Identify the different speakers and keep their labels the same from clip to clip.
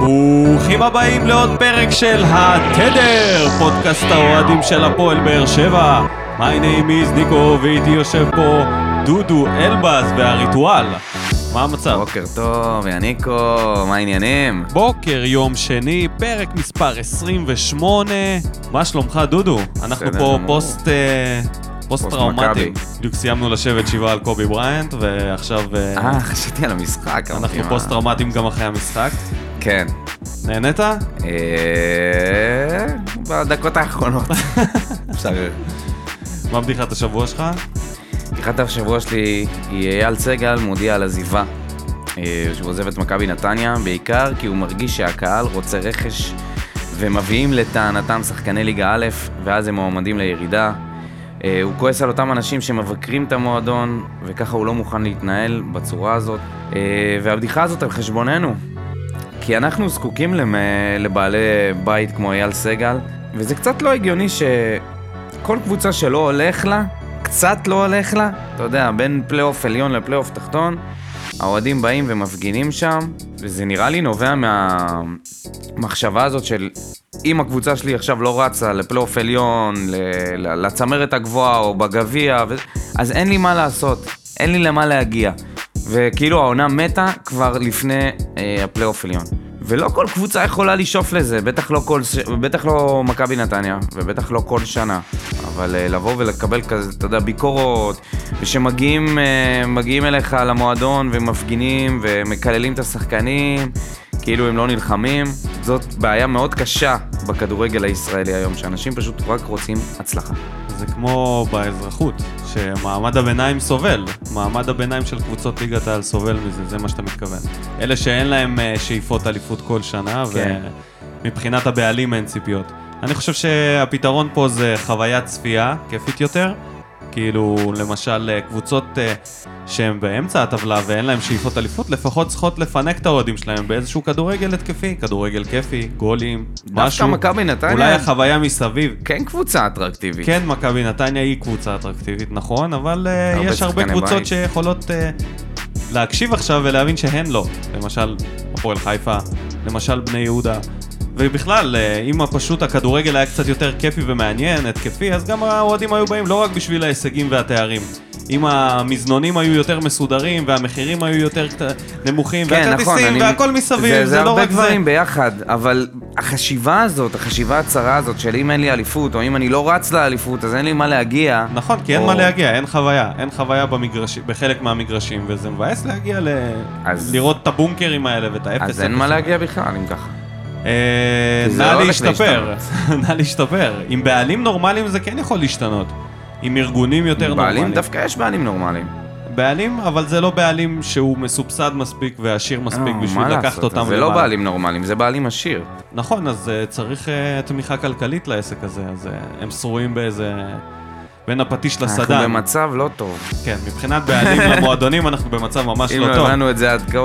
Speaker 1: ברוכים הבאים לעוד פרק של התדר, פודקאסט האוהדים של הפועל באר שבע. My name is ניקו, ואיתי יושב פה דודו אלבז והריטואל. מה המצב?
Speaker 2: בוקר טוב, יניקו, מה העניינים?
Speaker 1: בוקר יום שני, פרק מספר 28. מה שלומך דודו? אנחנו
Speaker 2: בסדר
Speaker 1: פה
Speaker 2: גמור.
Speaker 1: פוסט... אה, פוסט טראומטי.
Speaker 2: מכבי.
Speaker 1: בדיוק סיימנו לשבת שבעה על קובי בריינט, ועכשיו אה,
Speaker 2: אה, חשבתי על המשחק. אמרתי,
Speaker 1: אנחנו
Speaker 2: מה?
Speaker 1: פוסט טראומטיים גם אחרי המשחק.
Speaker 2: כן.
Speaker 1: נהנית?
Speaker 2: אה, בדקות האחרונות. בסדר.
Speaker 1: מה בדיחת השבוע שלך?
Speaker 2: פתיחת השבוע שלי היא אייל סגל מודיע על עזיבה. אה, שהוא עוזב את מכבי נתניה, בעיקר כי הוא מרגיש שהקהל רוצה רכש ומביאים לטענתם שחקני ליגה א', ואז הם מועמדים לירידה. אה, הוא כועס על אותם אנשים שמבקרים את המועדון, וככה הוא לא מוכן להתנהל בצורה הזאת. אה, והבדיחה הזאת על חשבוננו, כי אנחנו זקוקים למ... לבעלי בית כמו אייל סגל, וזה קצת לא הגיוני שכל קבוצה שלא הולך לה, קצת לא הולך לה, אתה יודע, בין פלייאוף עליון לפלייאוף תחתון, האוהדים באים ומפגינים שם, וזה נראה לי נובע מהמחשבה הזאת של אם הקבוצה שלי עכשיו לא רצה לפלייאוף עליון, ל- ל- לצמרת הגבוהה או בגביע, ו... אז אין לי מה לעשות, אין לי למה להגיע. וכאילו העונה מתה כבר לפני אה, הפלייאוף עליון. ולא כל קבוצה יכולה לשאוף לזה, בטח לא, כל, ש- בטח לא מכבי נתניה, ובטח לא כל שנה. אבל אה, לבוא ולקבל כזה, אתה יודע, ביקורות, ושמגיעים אה, מגיעים אליך למועדון ומפגינים ומקללים את השחקנים, כאילו הם לא נלחמים, זאת בעיה מאוד קשה בכדורגל הישראלי היום, שאנשים פשוט רק רוצים הצלחה.
Speaker 1: זה כמו באזרחות, שמעמד הביניים סובל. מעמד הביניים של קבוצות ליגת העל סובל מזה, זה מה שאתה מתכוון. אלה שאין להם אה, שאיפות אליפות כל שנה,
Speaker 2: כן.
Speaker 1: ומבחינת הבעלים אין ציפיות. אני חושב שהפתרון פה זה חוויית צפייה כיפית יותר. כאילו, למשל, אה, קבוצות אה, שהן באמצע הטבלה ואין להן שאיפות אליפות, לפחות צריכות לפנק את האוהדים שלהם באיזשהו כדורגל התקפי, כדורגל כיפי, גולים, משהו.
Speaker 2: דווקא מכבי נתניה,
Speaker 1: אולי החוויה מסביב.
Speaker 2: כן קבוצה אטרקטיבית.
Speaker 1: כן, מכבי נתניה היא קבוצה אטרקטיבית, נכון, אבל אה,
Speaker 2: הרבה
Speaker 1: יש הרבה
Speaker 2: שחקני
Speaker 1: קבוצות
Speaker 2: בית.
Speaker 1: שיכולות אה, להקשיב עכשיו ולהבין שהן לא. למשל, הפועל חיפה, למשל בני יהודה. ובכלל, אה, אם פשוט הכדורגל היה קצת יותר כיפי ומעניין, התקפי, אז גם האוהדים היו באים לא רק בשביל ההישגים והתארים. אם המזנונים היו יותר מסודרים, והמחירים היו יותר קט- נמוכים, והכרטיסים,
Speaker 2: כן, נכון, אני-
Speaker 1: והכל מסביב, זה, לא
Speaker 2: הרבה
Speaker 1: רק זה.
Speaker 2: דברים ביחד, אבל החשיבה הזאת, החשיבה הצרה הזאת של אם אין לי אליפות, או אם אני לא רץ לאליפות, אז אין לי מה להגיע.
Speaker 1: נכון, כי אין
Speaker 2: או-
Speaker 1: מה להגיע, אין חוויה. אין חוויה במגרש... בחלק מהמגרשים, וזה מבאס להגיע ל...
Speaker 2: אז-
Speaker 1: לראות את הבונקרים האלה ואת האפס.
Speaker 2: אז אין
Speaker 1: אפס
Speaker 2: מה
Speaker 1: האלה.
Speaker 2: להגיע בכלל, אם ככה.
Speaker 1: אה,
Speaker 2: כי זה לא
Speaker 1: נא
Speaker 2: הולך
Speaker 1: להשתפר. נא להשתפר. עם בעלים נורמליים זה כן יכול להשתנות. עם ארגונים יותר נורמליים.
Speaker 2: בעלים, דווקא יש בעלים נורמליים.
Speaker 1: בעלים, אבל זה לא בעלים שהוא מסובסד מספיק ועשיר מספיק
Speaker 2: אה,
Speaker 1: בשביל
Speaker 2: מה
Speaker 1: לקחת
Speaker 2: לעשות,
Speaker 1: אותם
Speaker 2: זה לא בעלים נורמליים, זה בעלים עשיר.
Speaker 1: נכון, אז אה, צריך אה, תמיכה כלכלית לעסק הזה, אז אה, הם שרועים באיזה... בין הפטיש
Speaker 2: אה, אנחנו
Speaker 1: לסדן.
Speaker 2: במצב לא טוב.
Speaker 1: כן, מבחינת בעלים למועדונים אנחנו במצב ממש
Speaker 2: אם
Speaker 1: לא
Speaker 2: לא
Speaker 1: טוב.
Speaker 2: הבנו את זה עד כה,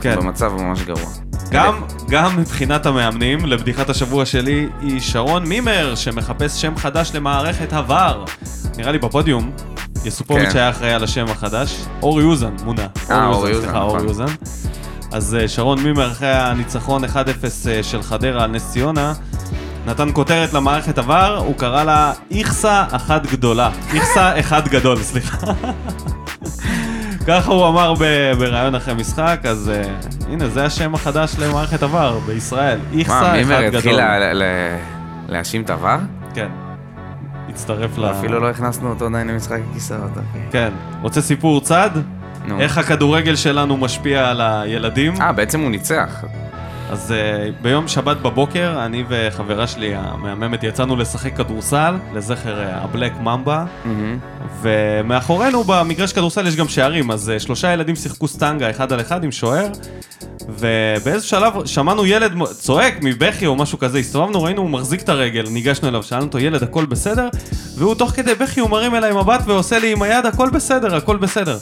Speaker 1: כן.
Speaker 2: אנחנו במצב ממש גרוע.
Speaker 1: גם, גם מבחינת המאמנים, לבדיחת השבוע שלי היא שרון מימר, שמחפש שם חדש למערכת הוואר. נראה לי בפודיום, יסופוביץ'
Speaker 2: כן.
Speaker 1: היה אחראי על השם החדש. אורי אוזן מונה.
Speaker 2: אה, אורי אוזן,
Speaker 1: סליחה, אורי
Speaker 2: נכון.
Speaker 1: אוזן. אז אה, שרון מימר, אחרי הניצחון 1-0 אה, של חדרה על נס ציונה, נתן כותרת למערכת עבר, הוא קרא לה איכסה אחת גדולה. איכסה אחד גדול, סליחה. ככה הוא אמר ב- בריאיון אחרי משחק, אז uh, הנה, זה השם החדש למערכת עבר בישראל.
Speaker 2: מה,
Speaker 1: איכסה אחד
Speaker 2: מימר התחיל
Speaker 1: גדול.
Speaker 2: לה- לה- להאשים את עבר?
Speaker 1: כן. הצטרף ל...
Speaker 2: אפילו לא הכנסנו אותו עדיין למשחק הכיסאות, אחי.
Speaker 1: כן. רוצה סיפור צד?
Speaker 2: נו.
Speaker 1: כן. איך הכדורגל שלנו משפיע על הילדים?
Speaker 2: אה, בעצם הוא ניצח.
Speaker 1: אז uh, ביום שבת בבוקר, אני וחברה שלי המהממת יצאנו לשחק כדורסל לזכר אה, הבלק ממבה.
Speaker 2: מהמם.
Speaker 1: ומאחורינו במגרש כדורסל יש גם שערים, אז אה, שלושה ילדים שיחקו סטנגה אחד על אחד עם שוער, ובאיזשהו שלב שמענו ילד מ- צועק מבכי או משהו כזה, הסתובבנו, ראינו, הוא מחזיק את הרגל, ניגשנו אליו, שאלנו אותו, ילד, הכל בסדר? והוא תוך כדי בכי הוא מרים אליי מבט ועושה לי עם היד, הכל בסדר, הכל בסדר.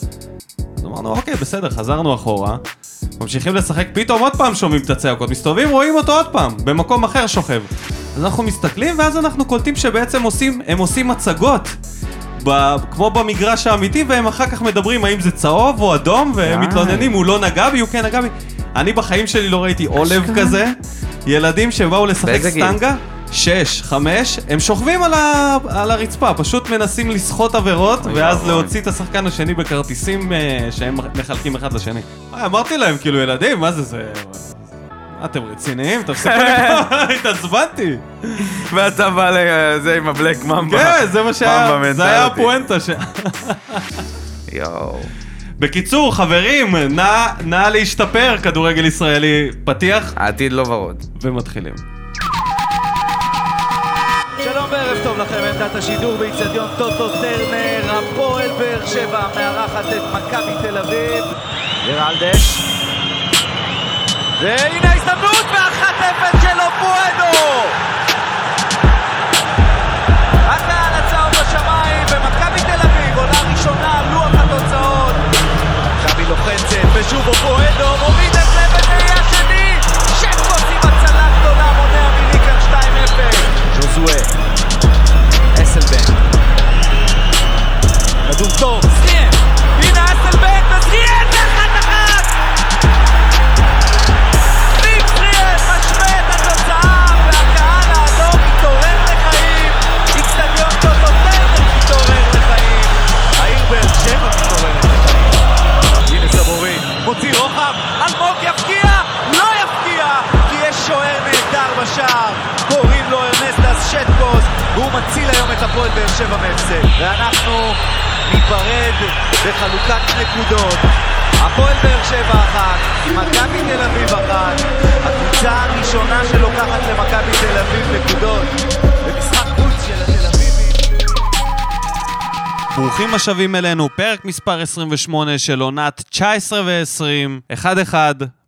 Speaker 1: אז אמרנו, אוקיי, בסדר, חזרנו אחורה, ממשיכים לשחק, פתאום עוד פעם שומעים את הצעקות, מסתובבים, רואים אותו עוד פעם, במקום אחר שוכב. אז אנחנו מסתכלים, ואז אנחנו קולטים שבעצם עושים, הם עושים הצגות. ב, כמו במגרש האמיתי, והם אחר כך מדברים האם זה צהוב או אדום, והם
Speaker 2: די.
Speaker 1: מתלוננים, הוא לא נגע בי, הוא כן נגע בי. אני בחיים שלי לא ראיתי עולב כזה. ילדים שבאו לשחק
Speaker 2: באיזה גיל?
Speaker 1: סטנגה, שש, חמש, הם שוכבים על, ה... על הרצפה, פשוט מנסים לסחוט עבירות,
Speaker 2: אוי
Speaker 1: ואז
Speaker 2: ואבוי.
Speaker 1: להוציא את השחקן השני בכרטיסים אה, שהם מחלקים אחד לשני. אה, אמרתי להם, כאילו, ילדים, מה זה זה... מה, אתם רציניים? תפסיקו לקרוא, התעצבנתי.
Speaker 2: ואתה בא לזה עם הבלק ממבה.
Speaker 1: כן, זה מה שהיה, זה היה הפואנטה. ש-
Speaker 2: יואו.
Speaker 1: בקיצור, חברים, נא- נא להשתפר, כדורגל ישראלי פתיח,
Speaker 2: העתיד לא ורוד.
Speaker 1: ומתחילים.
Speaker 3: שלום וערב טוב לכם, עמדת השידור באיצטדיון טוטו טרנר, הפועל באר שבע מארחת את מכבי תל אביב. ורלדש. והנה ההזדמנות, ו-1-0 של אופואדו! הקהל הצהוב בשמיים, ומכבי תל אביב עולה ראשונה על לוח התוצאות. מכבי לוחצת, ושוב אופואדו מוריד את זה בדעי השני! שקוס עם הצלה גדולה מונע מליקר 2-0. ז'וזואה, אסלבן. כדור טוב, סטייאן! הנה אסלבן, וסטייאן זה אחת אחת! ניק סטייאן משווה את התוצאה, והקהל האדום מתעורר לחיים! איקסטדיון טוטוטרנר מתעורר לחיים! העיר באר שבע מתעוררת לחיים! הנה סבורי, מוציא רוחב, אלמוג יפקיע, לא יפקיע, כי יש שוער נהדר בשער, קוראים לו ארנסטס שטקוס, והוא מציל היום את הפועל באר שבע מהפסד. ואנחנו ניפרד בחלוקת נקודות. הפועל באר שבע אחת, מכבי תל אביב אחת, הקבוצה הראשונה שלוקחת למכבי תל אביב נקודות, במשחק חוץ של התל אביבים.
Speaker 1: ברוכים השבים אלינו, פרק מספר 28 של עונת 19 ו-20, 1-1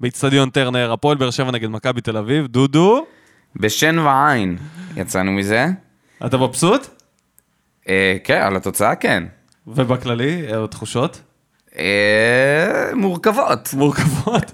Speaker 1: באיצטדיון טרנר, הפועל באר שבע נגד מכבי תל אביב. דודו,
Speaker 2: בשן ועין יצאנו מזה.
Speaker 1: אתה מבסוט?
Speaker 2: אה, כן, על התוצאה כן.
Speaker 1: ובכללי, אה, תחושות?
Speaker 2: אה, מורכבות.
Speaker 1: מורכבות?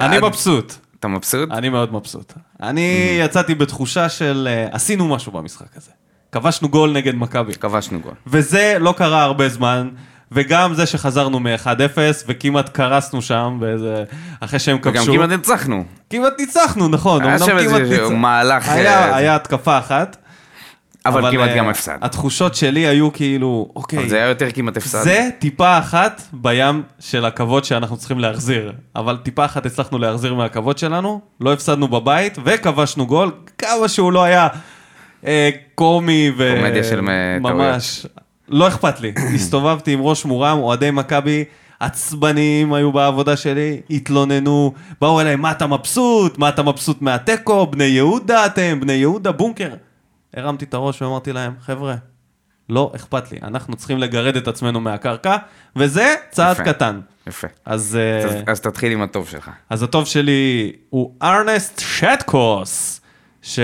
Speaker 1: אני
Speaker 2: עד-
Speaker 1: מבסוט,
Speaker 2: אתה מבסוט?
Speaker 1: אני מאוד מבסוט.
Speaker 2: Mm-hmm.
Speaker 1: אני יצאתי בתחושה של אה, עשינו משהו במשחק הזה. כבשנו גול נגד מכבי.
Speaker 2: כבשנו גול.
Speaker 1: וזה לא קרה הרבה זמן, וגם זה שחזרנו מ-1-0 וכמעט קרסנו שם, באיזה... אחרי שהם
Speaker 2: וגם
Speaker 1: כבשו.
Speaker 2: כמעט ניצחנו.
Speaker 1: כמעט ניצחנו, נכון.
Speaker 2: היה
Speaker 1: אמנם
Speaker 2: שם
Speaker 1: כמעט
Speaker 2: איזה
Speaker 1: ניצח-
Speaker 2: מהלך,
Speaker 1: היה
Speaker 2: אה,
Speaker 1: היה התקפה אחת.
Speaker 2: אבל כמעט
Speaker 1: אה,
Speaker 2: גם הפסד.
Speaker 1: התחושות שלי היו כאילו, אוקיי,
Speaker 2: אבל זה היה יותר כמעט הפסד.
Speaker 1: זה טיפה אחת בים של הכבוד שאנחנו צריכים להחזיר. אבל טיפה אחת הצלחנו להחזיר מהכבוד שלנו, לא הפסדנו בבית וכבשנו גול, כמה שהוא לא היה אה, קומי ו...
Speaker 2: קומדיה של אה, מ-
Speaker 1: ממש. לא אכפת לי. הסתובבתי עם ראש מורם, אוהדי מכבי. עצבניים היו בעבודה שלי, התלוננו, באו אליי, מה אתה מבסוט? מה אתה מבסוט מהתיקו? בני יהודה אתם, בני יהודה בונקר. הרמתי את הראש ואמרתי להם, חבר'ה, לא אכפת לי, אנחנו צריכים לגרד את עצמנו מהקרקע, וזה צעד
Speaker 2: יפה.
Speaker 1: קטן.
Speaker 2: יפה.
Speaker 1: אז, אה,
Speaker 2: אז- אז תתחיל עם הטוב שלך.
Speaker 1: אז הטוב שלי הוא ארנסט שטקוס, שיש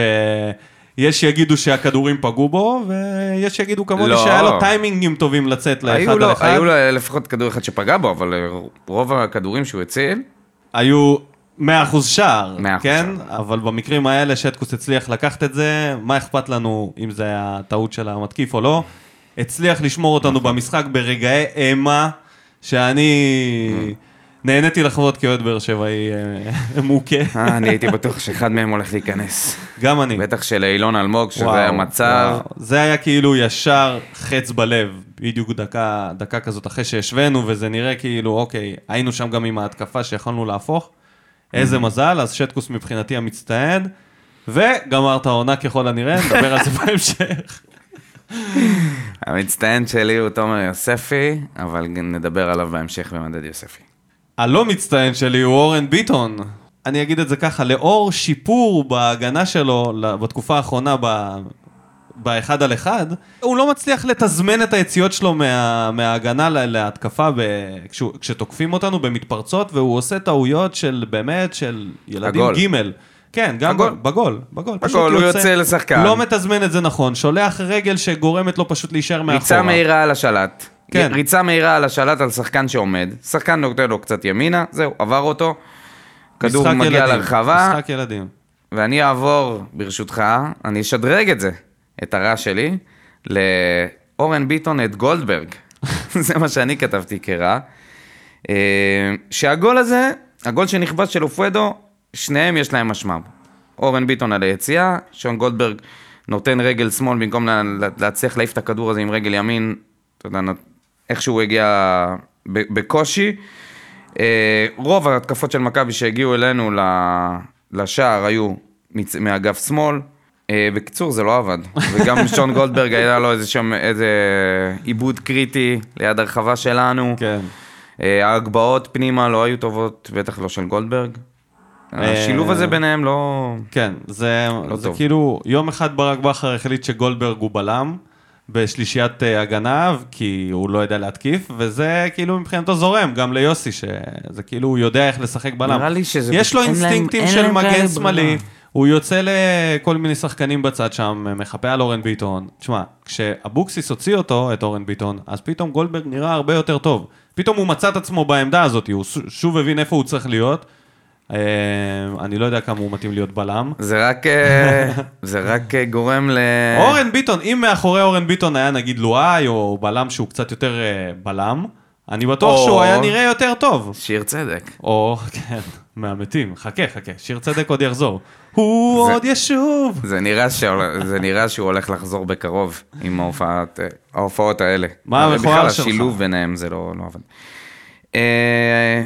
Speaker 1: שיגידו שהכדורים פגעו בו, ויש שיגידו כמוני
Speaker 2: לא.
Speaker 1: שהיה לו טיימינגים טובים לצאת לאחד
Speaker 2: היו
Speaker 1: על
Speaker 2: לו-
Speaker 1: אחד.
Speaker 2: היו לו אה, לפחות כדור אחד שפגע בו, אבל אה, רוב הכדורים שהוא הציל,
Speaker 1: היו 100% שער,
Speaker 2: 100%
Speaker 1: כן? אבל במקרים האלה שטקוס הצליח לקחת את זה, מה אכפת לנו אם זה היה טעות של המתקיף או לא? הצליח לשמור אותנו במשחק ברגעי אימה, שאני נהניתי לחוות כאוהד באר שבעי אה, מוכה,
Speaker 2: אה, אני הייתי בטוח שאחד מהם הולך להיכנס.
Speaker 1: גם אני.
Speaker 2: בטח שלאילון אלמוג,
Speaker 1: וואו,
Speaker 2: שזה המצב.
Speaker 1: וואו. זה היה כאילו ישר חץ בלב, בדיוק דקה, דקה כזאת אחרי שהשווינו, וזה נראה כאילו, אוקיי, היינו שם גם עם ההתקפה שיכולנו להפוך.
Speaker 2: Mm-hmm.
Speaker 1: איזה מזל, אז שטקוס מבחינתי המצטיין, וגמר את העונה ככל הנראה, נדבר על זה בהמשך.
Speaker 2: המצטיין שלי הוא תומר יוספי, אבל גם נדבר עליו בהמשך במדד יוספי.
Speaker 1: הלא מצטיין שלי הוא אורן ביטון. אני אגיד את זה ככה, לאור שיפור בהגנה שלו ל- בתקופה האחרונה ב... באחד על אחד, הוא לא מצליח לתזמן את היציאות שלו מה, מההגנה לה, להתקפה ב, כשהוא, כשתוקפים אותנו במתפרצות, והוא עושה טעויות של באמת, של ילדים
Speaker 2: הגול.
Speaker 1: ג' כן, גם
Speaker 2: הגול.
Speaker 1: בגול, בגול, בגול. פשוט
Speaker 2: הוא יוצא לשחקן.
Speaker 1: לא מתזמן את זה נכון, שולח רגל שגורמת לו פשוט להישאר מאחורה.
Speaker 2: ריצה מהירה על השלט.
Speaker 1: כן.
Speaker 2: ריצה מהירה על השלט על שחקן שעומד. שחקן נותן לו קצת ימינה, זהו, עבר אותו. כדור
Speaker 1: משחק
Speaker 2: מגיע
Speaker 1: ילדים,
Speaker 2: לרחבה,
Speaker 1: משחק ילדים.
Speaker 2: ואני אעבור, ברשותך, אני אשדרג את זה, את הרע שלי, לאורן ביטון את גולדברג. זה מה שאני כתבתי כרע. אה, שהגול הזה, הגול שנכבש של אופוידו, שניהם יש להם אשמה. אורן ביטון על היציאה, שון גולדברג נותן רגל שמאל במקום לה- לה- להצליח להעיף את הכדור הזה עם רגל ימין, אתה יודע, נות- איך שהוא הגיע ב- בקושי. אה, רוב ההתקפות של מכבי שהגיעו אלינו ל- לשער היו מצ- מאגף שמאל. אה, בקיצור, זה לא עבד. וגם שון גולדברג היה לו איזה שם, איזה עיבוד קריטי ליד הרחבה שלנו.
Speaker 1: כן.
Speaker 2: אה, ההגבהות פנימה לא היו טובות, בטח לא של גולדברג.
Speaker 1: אה,
Speaker 2: השילוב הזה ביניהם לא...
Speaker 1: כן, זה,
Speaker 2: לא
Speaker 1: זה
Speaker 2: טוב.
Speaker 1: כאילו, יום אחד ברק בכר החליט שגולדברג הוא בלם בשלישיית אה, הגנה, כי הוא לא יודע להתקיף, וזה כאילו מבחינתו זורם, גם ליוסי, שזה כאילו, הוא יודע איך לשחק בלם.
Speaker 2: נראה לי שזה-
Speaker 1: יש לו
Speaker 2: אין להם-
Speaker 1: אינסטינקטים
Speaker 2: אין
Speaker 1: של
Speaker 2: להם
Speaker 1: מגן
Speaker 2: כאלה
Speaker 1: שמאלי,
Speaker 2: ברירה.
Speaker 1: הוא יוצא לכל מיני שחקנים בצד שם, מחפה על אורן ביטון. תשמע, כשאבוקסיס הוציא אותו, את אורן ביטון, אז פתאום גולדברג נראה הרבה יותר טוב. פתאום הוא מצא את עצמו בעמדה הזאת, הוא ש- שוב הבין איפה הוא צריך להיות. אה, אני לא יודע כמה הוא מתאים להיות בלם.
Speaker 2: זה רק... אה, זה רק אה, גורם ל...
Speaker 1: אורן ביטון, אם מאחורי אורן ביטון היה נגיד לואי או בלם שהוא קצת יותר אה, בלם, אני בטוח
Speaker 2: או-
Speaker 1: שהוא היה נראה יותר טוב.
Speaker 2: שיר צדק.
Speaker 1: או, כן, מהמתים, חכה, חכה, שיר צדק עוד יחזור. הוא
Speaker 2: זה-
Speaker 1: עוד ישוב.
Speaker 2: זה נראה, שהול... זה נראה שהוא הולך לחזור בקרוב עם ההופעת... אה, ההופעות האלה.
Speaker 1: מה
Speaker 2: אבל
Speaker 1: המכוער שלך?
Speaker 2: בכלל השילוב ביניהם זה לא, לא עבד. אה,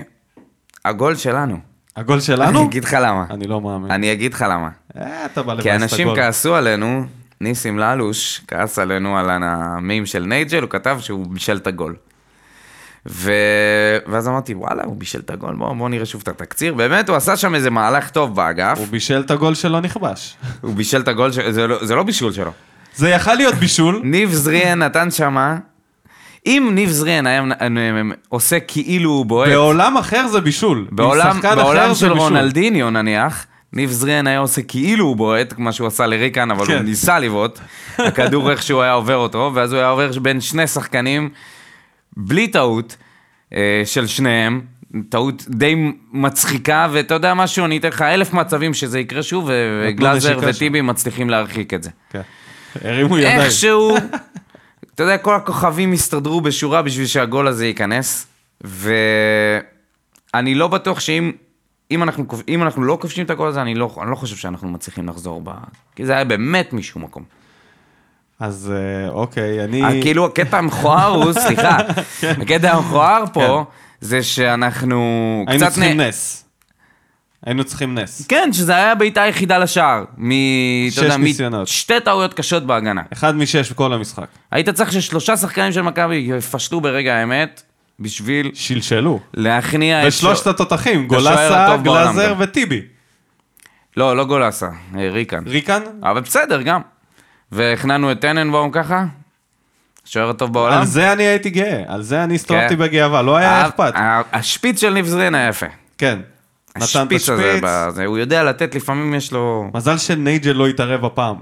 Speaker 2: הגול שלנו.
Speaker 1: הגול
Speaker 2: אני
Speaker 1: שלנו?
Speaker 2: אגיד לך למה.
Speaker 1: אני לא מאמין.
Speaker 2: אני אגיד לך למה.
Speaker 1: אה, אתה בא לבאס את
Speaker 2: כי
Speaker 1: הגול.
Speaker 2: אנשים כעסו עלינו, ניסים ללוש כעס עלינו על המים של נייג'ל, הוא כתב שהוא בישל את הגול. ו... ואז אמרתי, וואלה, הוא בישל את הגול, בואו בוא נראה שוב את התקציר. באמת, הוא עשה שם איזה מהלך טוב באגף,
Speaker 1: הוא בישל את הגול שלא נכבש.
Speaker 2: הוא בישל את הגול, ש... זה, לא, זה לא בישול שלו.
Speaker 1: זה יכל להיות בישול.
Speaker 2: ניב זריאן נתן שמה, אם ניב זריאן היה אה, עושה כאילו הוא בועט,
Speaker 1: בעולם אחר זה בישול. עם
Speaker 2: בעולם,
Speaker 1: שחקן אחר
Speaker 2: בעולם
Speaker 1: זה
Speaker 2: של
Speaker 1: בישול.
Speaker 2: רונלדיניו נניח, ניב זריאן היה עושה כאילו הוא בועט, כמו שהוא עשה לריקן, אבל הוא
Speaker 1: כן.
Speaker 2: ניסה לבעוט. הכדור איכשהו היה עובר אותו, ואז הוא היה עובר בין שני שחקנים, בלי טעות, אה, של שניהם. טעות די מצחיקה, ואתה יודע משהו, אני אתן לך אלף מצבים שזה יקרה שוב, ו-
Speaker 1: נתנו
Speaker 2: וגלאזר
Speaker 1: נשיקה שם.
Speaker 2: וטיבי מצליחים להרחיק את זה.
Speaker 1: כן. הרימו ידיים.
Speaker 2: איכשהו, אתה יודע, כל הכוכבים הסתדרו בשורה בשביל שהגול הזה ייכנס, ואני לא בטוח שאם אם אנחנו, כובש- אם אנחנו לא כובשים את הגול הזה, אני לא, אני לא חושב שאנחנו מצליחים לחזור ב... כי זה היה באמת משום מקום.
Speaker 1: אז אה, אוקיי, אני...
Speaker 2: אה, כאילו הקטע המכוער הוא, סליחה,
Speaker 1: כן.
Speaker 2: הקטע המכוער פה, זה שאנחנו
Speaker 1: היינו
Speaker 2: קצת...
Speaker 1: צריכים
Speaker 2: נ-
Speaker 1: נס. היינו צריכים נס.
Speaker 2: כן, שזה היה הבעיטה היחידה לשער. מ... אתה יודע,
Speaker 1: שש ניסיונות.
Speaker 2: משתי טעויות קשות בהגנה.
Speaker 1: אחד משש בכל המשחק.
Speaker 2: היית צריך ששלושה שחקנים של מכבי יפשטו ברגע האמת, בשביל
Speaker 1: שלשלו.
Speaker 2: להכניע את...
Speaker 1: ושלושת התותחים,
Speaker 2: השוער
Speaker 1: גולסה,
Speaker 2: הטוב בעולם
Speaker 1: גלאזר
Speaker 2: גם.
Speaker 1: וטיבי.
Speaker 2: לא, לא גולסה, אה, ריקן.
Speaker 1: ריקן?
Speaker 2: אבל בסדר, גם. והכנענו את טננבאום ככה, שוער הטוב בעולם.
Speaker 1: על זה אני הייתי גאה, על זה אני הסתובבתי
Speaker 2: כן. אה,
Speaker 1: בגאווה, לא היה
Speaker 2: ה-
Speaker 1: אכפת.
Speaker 2: ה- השפיץ של ניב זרין היה יפה.
Speaker 1: כן. נתן את
Speaker 2: השפיץ הזה,
Speaker 1: השפיץ.
Speaker 2: בזה, הוא יודע לתת, לפעמים יש לו...
Speaker 1: מזל שנייג'ל לא התערב הפעם.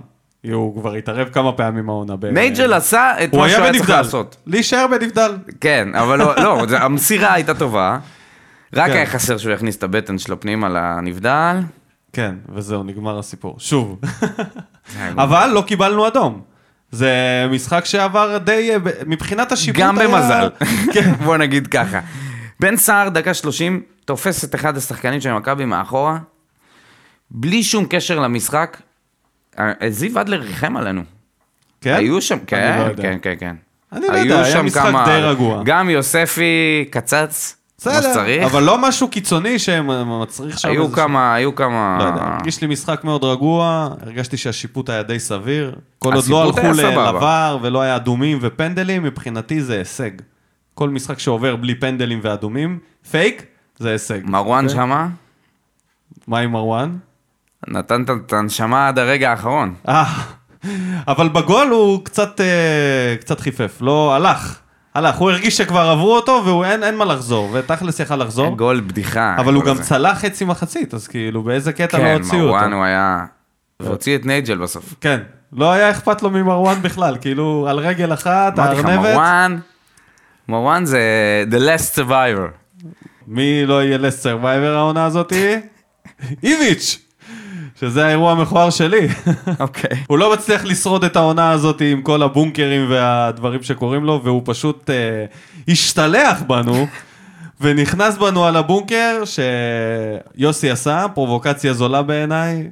Speaker 1: הוא כבר התערב כמה פעמים העונה. ב-
Speaker 2: נייג'ל עשה את
Speaker 1: הוא
Speaker 2: מה
Speaker 1: היה
Speaker 2: שהוא היה צריך
Speaker 1: בנבדל.
Speaker 2: לעשות.
Speaker 1: להישאר בנבדל.
Speaker 2: כן, אבל לא, לא, זה- המסירה הייתה טובה. רק
Speaker 1: כן.
Speaker 2: היה חסר שהוא יכניס את הבטן שלו פנימה לנבדל.
Speaker 1: כן, וזהו, נגמר הסיפור. שוב. אבל לא קיבלנו אדום. זה משחק שעבר די, אה, ב- מבחינת השיפוט
Speaker 2: גם
Speaker 1: היה-
Speaker 2: במזל.
Speaker 1: כן.
Speaker 2: בוא נגיד ככה. בן סער, דקה 30, תופס את אחד השחקנים של מכבי מאחורה, בלי שום קשר למשחק. אה, זיו אדלר ריחם עלינו.
Speaker 1: כן?
Speaker 2: היו שם,
Speaker 1: אני
Speaker 2: כן,
Speaker 1: לא יודע.
Speaker 2: כן, כן, כן.
Speaker 1: אני לא
Speaker 2: היו
Speaker 1: יודע, היה
Speaker 2: שם
Speaker 1: משחק
Speaker 2: כמה-
Speaker 1: די רגוע.
Speaker 2: גם יוספי קצץ, כמו
Speaker 1: בסדר,
Speaker 2: שצריך.
Speaker 1: אבל לא משהו קיצוני שמצריך שם
Speaker 2: היו
Speaker 1: איזה-
Speaker 2: כמה, היו כמה...
Speaker 1: לא יודע, הרגיש לי משחק מאוד רגוע, הרגשתי שהשיפוט היה די סביר. כל עוד לא
Speaker 2: השיפוט
Speaker 1: הלכו
Speaker 2: היה סבבה.
Speaker 1: לעבר ולא היה אדומים ופנדלים, מבחינתי זה הישג. כל משחק שעובר בלי פנדלים ואדומים, פייק, זה הישג.
Speaker 2: מרואן
Speaker 1: אוקיי?
Speaker 2: שמה,
Speaker 1: מה עם מרואן?
Speaker 2: נתן את הנשמה עד הרגע האחרון.
Speaker 1: אה, אבל בגול הוא קצת, אה, קצת חיפף, לא, הלך. הלך, הוא הרגיש שכבר עברו אותו ואין מה לחזור, ותכלס יכל לחזור,
Speaker 2: גול בדיחה.
Speaker 1: לא? אבל הוא
Speaker 2: הגול
Speaker 1: גם
Speaker 2: הזה.
Speaker 1: צלח חצי מחצית, אז כאילו באיזה קטע לא
Speaker 2: כן,
Speaker 1: הוציאו אותו. לא.
Speaker 2: מרואן הוא היה... והוציא את נייג'ל בסוף.
Speaker 1: כן, לא היה אכפת לו ממרואן בכלל, כאילו, על רגל אחת,
Speaker 2: אמרתי לך,
Speaker 1: הארנבת,
Speaker 2: מרואן, מרואן זה the last survivor.
Speaker 1: מי לא יהיה לסט סרווייבר העונה הזאתי? איביץ', שזה האירוע המכוער שלי.
Speaker 2: אוקיי.
Speaker 1: הוא לא מצליח לשרוד את העונה הזאתי עם כל הבונקרים והדברים שקורים לו, והוא פשוט אה, השתלח בנו. ונכנס בנו על הבונקר שיוסי עשה, פרובוקציה זולה בעיניי.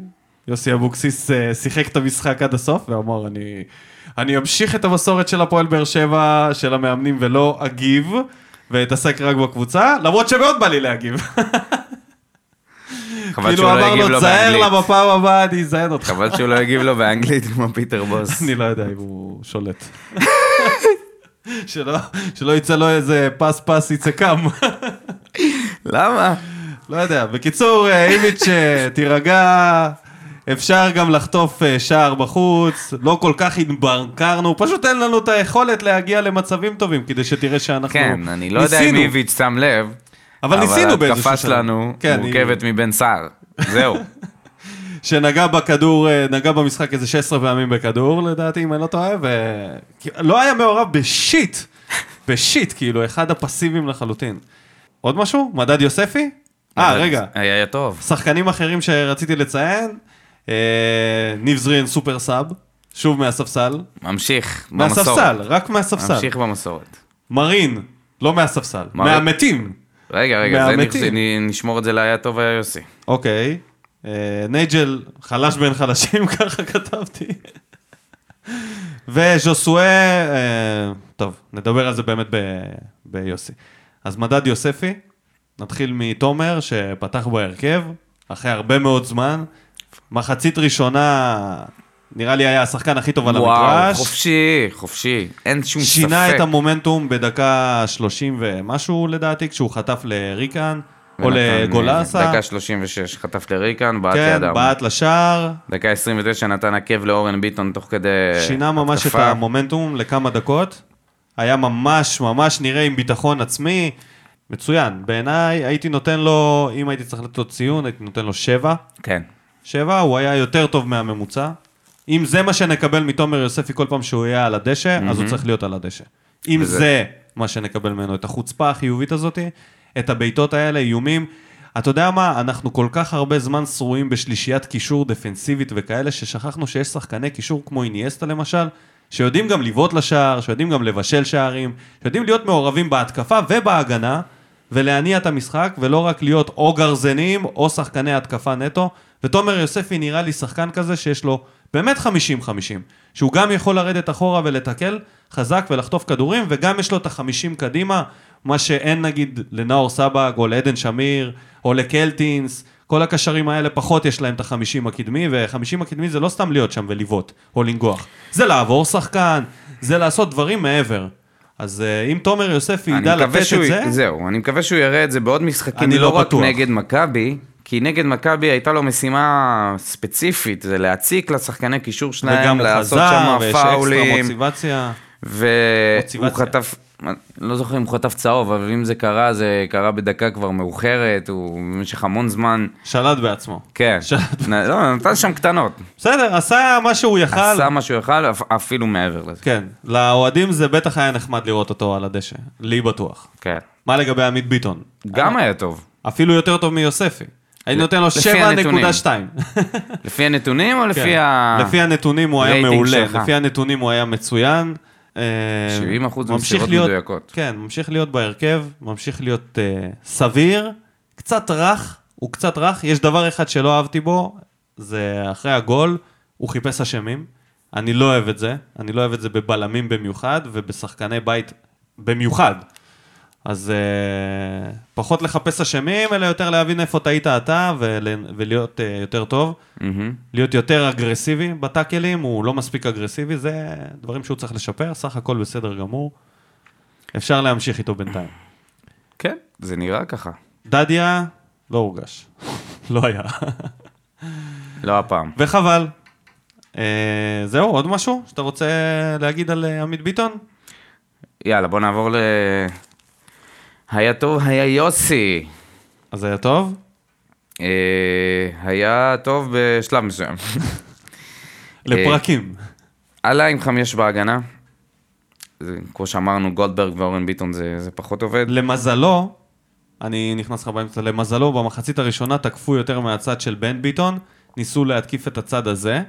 Speaker 1: יוסי אבוקסיס אה, שיחק את המשחק עד הסוף ואמר, אני, אני אמשיך את המסורת של הפועל באר שבע, של המאמנים, ולא אגיב, ואתעסק רק בקבוצה, למרות שמאוד בא לי להגיב.
Speaker 2: חבל שהוא
Speaker 1: כאילו
Speaker 2: לא
Speaker 1: אמר
Speaker 2: יגיב
Speaker 1: לו,
Speaker 2: לו
Speaker 1: תזהר
Speaker 2: באנגלית.
Speaker 1: לה בפעם הבאה, אני אזיין אותך.
Speaker 2: חבל שהוא לא יגיב לו באנגלית כמו פיטר בוס.
Speaker 1: אני לא יודע אם הוא שולט. שלא, שלא יצא לו איזה פס פס יצא קם.
Speaker 2: למה?
Speaker 1: לא יודע. בקיצור, אה, איביץ', אה, תירגע. אפשר גם לחטוף אה, שער בחוץ, לא כל כך התבנקרנו, פשוט אין לנו את היכולת להגיע למצבים טובים כדי שתראה שאנחנו
Speaker 2: כן, אני לא יודע אם
Speaker 1: ניסינו.
Speaker 2: איביץ' שם לב.
Speaker 1: אבל ניסינו באיזשהו
Speaker 2: ההתקפה שלנו
Speaker 1: כן, היא-
Speaker 2: מורכבת מבן סער. זהו.
Speaker 1: שנגע בכדור, אה, נגע במשחק איזה 16 פעמים בכדור, לדעתי, אם אני לא טועה, ולא היה מעורב בשיט, בשיט, כאילו, אחד הפסיביים לחלוטין. עוד משהו? מדד יוספי? אה,
Speaker 2: אבל
Speaker 1: רגע,
Speaker 2: היה היה טוב.
Speaker 1: שחקנים אחרים שרציתי לציין, אה, ניב זרין סופר סאב, שוב מהספסל.
Speaker 2: ממשיך. במסורת.
Speaker 1: מהספסל, רק מהספסל.
Speaker 2: ממשיך במסורת.
Speaker 1: מרין, לא מהספסל,
Speaker 2: מרין.
Speaker 1: מהמתים.
Speaker 2: רגע, רגע, זה
Speaker 1: מהמתים.
Speaker 2: נכ- נ- נשמור את זה להיה טוב היה יוסי.
Speaker 1: אוקיי. אה, נייג'ל, חלש בין חלשים, ככה כתבתי. וז'וסואה, אה, טוב, נדבר על זה באמת ב, ביוסי. אז מדד יוספי, נתחיל מתומר, שפתח בהרכב, אחרי הרבה מאוד זמן. מחצית ראשונה, נראה לי היה השחקן הכי טוב על
Speaker 2: וואו,
Speaker 1: המגרש.
Speaker 2: חופשי, חופשי. אין שום ספק.
Speaker 1: שינה את המומנטום בדקה 30 ומשהו לדעתי, כשהוא חטף לריקן, או
Speaker 2: ונתן, אה,
Speaker 1: לגולאסה.
Speaker 2: דקה 36, חטף לריקן, בעט
Speaker 1: כן,
Speaker 2: לידם.
Speaker 1: בעט לשער.
Speaker 2: דקה 29 נתן עקב לאורן ביטון תוך כדי
Speaker 1: שינה ממש את
Speaker 2: התקפה.
Speaker 1: המומנטום לכמה דקות. היה ממש ממש נראה עם ביטחון עצמי. מצוין. בעיניי הייתי נותן לו, אם הייתי צריך לתת לו ציון, הייתי נותן לו שבע.
Speaker 2: כן.
Speaker 1: שבע, הוא היה יותר טוב מהממוצע. אם זה מה שנקבל מתומר יוספי כל פעם שהוא יהיה על הדשא, אז הוא צריך להיות על הדשא. אם
Speaker 2: וזה-
Speaker 1: זה מה שנקבל ממנו, את החוצפה החיובית הזאת, את הבעיטות האלה, איומים. אתה יודע מה, אנחנו כל כך הרבה זמן שרועים בשלישיית קישור דפנסיבית וכאלה, ששכחנו שיש שחקני קישור כמו איניאסטה למשל, שיודעים גם לבעוט לשער, שיודעים גם לבשל שערים, שיודעים להיות מעורבים בהתקפה ובהגנה, ולהניע את המשחק, ולא רק להיות או גרזנים או שחקני התקפה נטו. ותומר יוספי נראה לי שחקן כזה שיש לו באמת 50-50, שהוא גם יכול לרדת אחורה ולתקל חזק ולחטוף כדורים, וגם יש לו את ה-50 קדימה, מה שאין נגיד לנאור סבג או לעדן שמיר או לקלטינס. כל הקשרים האלה פחות יש להם את החמישים הקדמי, והחמישים הקדמי זה לא סתם להיות שם ולבעוט או לנגוח. זה לעבור שחקן, זה לעשות דברים מעבר. אז אה, אם תומר יוספי ידע
Speaker 2: אני מקווה
Speaker 1: לתת את
Speaker 2: שהוא-
Speaker 1: זה...
Speaker 2: זהו, אני מקווה שהוא יראה את זה בעוד משחקים,
Speaker 1: אני
Speaker 2: לא
Speaker 1: לא
Speaker 2: רק
Speaker 1: בטוח.
Speaker 2: נגד מכבי, כי נגד מכבי הייתה לו משימה ספציפית, זה להציק לשחקני קישור
Speaker 1: וגם
Speaker 2: שלהם,
Speaker 1: הוא
Speaker 2: לעשות שם
Speaker 1: חזר, ויש אקסטרה
Speaker 2: פאולים,
Speaker 1: מוטיבציה.
Speaker 2: והוא
Speaker 1: מוטיבציה.
Speaker 2: חטף, לא זוכר אם הוא חטף צהוב, אבל אם זה קרה, זה קרה בדקה כבר מאוחרת, הוא במשך המון זמן,
Speaker 1: שלט בעצמו.
Speaker 2: כן,
Speaker 1: שאלת-
Speaker 2: נ- לא, נתן שם קטנות,
Speaker 1: בסדר, עשה מה שהוא יכל.
Speaker 2: עשה מה שהוא יכל, אפ- אפילו מעבר לזה,
Speaker 1: כן, לאוהדים זה בטח היה נחמד לראות אותו על הדשא, לי בטוח.
Speaker 2: כן,
Speaker 1: מה לגבי עמית ביטון?
Speaker 2: גם
Speaker 1: אה.
Speaker 2: היה טוב.
Speaker 1: אפילו יותר טוב מיוספי. הייתי נותן לו
Speaker 2: לפי
Speaker 1: 7.2.
Speaker 2: לפי הנתונים או לפי
Speaker 1: כן.
Speaker 2: ה...
Speaker 1: לפי הנתונים הוא היה
Speaker 2: רייטינג
Speaker 1: מעולה,
Speaker 2: שלך.
Speaker 1: לפי הנתונים הוא היה מצוין. אה,
Speaker 2: 70%
Speaker 1: ממשיך
Speaker 2: מסירות
Speaker 1: להיות-
Speaker 2: מדויקות.
Speaker 1: כן, ממשיך להיות בהרכב, ממשיך להיות אה, סביר, קצת רך, הוא קצת רך. יש דבר אחד שלא אהבתי בו, זה אחרי הגול, הוא חיפש אשמים. אני לא אוהב את זה, אני לא אוהב את זה בבלמים במיוחד ובשחקני בית במיוחד. אז אה, פחות לחפש אשמים, אלא יותר להבין איפה טעית אתה ול, ולהיות אה, יותר טוב.
Speaker 2: מהמם.
Speaker 1: להיות יותר אגרסיבי בטאקלים, הוא לא מספיק אגרסיבי, זה דברים שהוא צריך לשפר, סך הכל בסדר גמור. אפשר להמשיך איתו בינתיים.
Speaker 2: כן, זה נראה ככה.
Speaker 1: דדיה, לא הורגש. לא היה.
Speaker 2: לא הפעם.
Speaker 1: וחבל. אה, זהו, עוד משהו שאתה רוצה להגיד על אה, עמית ביטון?
Speaker 2: יאללה, בוא נעבור ל... היה טוב, היה יוסי.
Speaker 1: אז זה היה טוב.
Speaker 2: אה, היה טוב בשלב מסוים.
Speaker 1: לפרקים.
Speaker 2: עלה עם חמש בהגנה. זה, כמו שאמרנו, גולדברג ואורן ביטון זה, זה פחות עובד.
Speaker 1: למזלו, אני נכנס לך באמצע, למזלו, במחצית הראשונה תקפו יותר מהצד של בן ביטון, ניסו להתקיף את הצד הזה,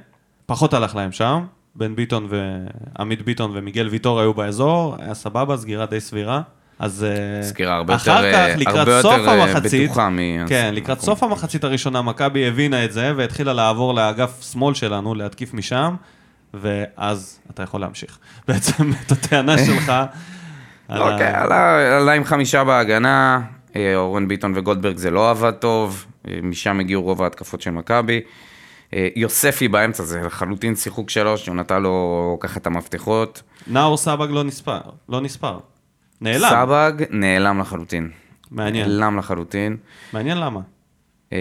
Speaker 1: פחות הלך להם שם, בן ביטון ועמית ביטון ומיגל ויטור היו באזור, היה סבבה, סגירה די סבירה. אז אה,
Speaker 2: סקירה הרבה
Speaker 1: אחר
Speaker 2: יותר,
Speaker 1: כך,
Speaker 2: אה,
Speaker 1: לקראת
Speaker 2: הרבה
Speaker 1: סוף
Speaker 2: יותר, אה,
Speaker 1: המחצית-
Speaker 2: בטוחה מ-
Speaker 1: כן, לקראת סוף המחצית הראשונה מכבי הבינה את זה והתחילה לעבור לאגף שמאל שלנו, להתקיף משם, ואז אתה יכול להמשיך. בעצם את הטענה שלך על ה-
Speaker 2: אוקיי, עלה, עלה עם חמישה בהגנה, אה, אורן ביטון וגולדברג זה לא עבד טוב, אה, משם הגיעו רוב ההתקפות של מכבי. אה, יוספי באמצע זה לחלוטין שיחוק שלוש, הוא נתן לו ככה את המפתחות.
Speaker 1: נאור סבג לא נספר, לא נספר. נעלם,
Speaker 2: סבג נעלם לחלוטין.
Speaker 1: מעניין.
Speaker 2: נעלם לחלוטין.
Speaker 1: מעניין למה.
Speaker 2: אה,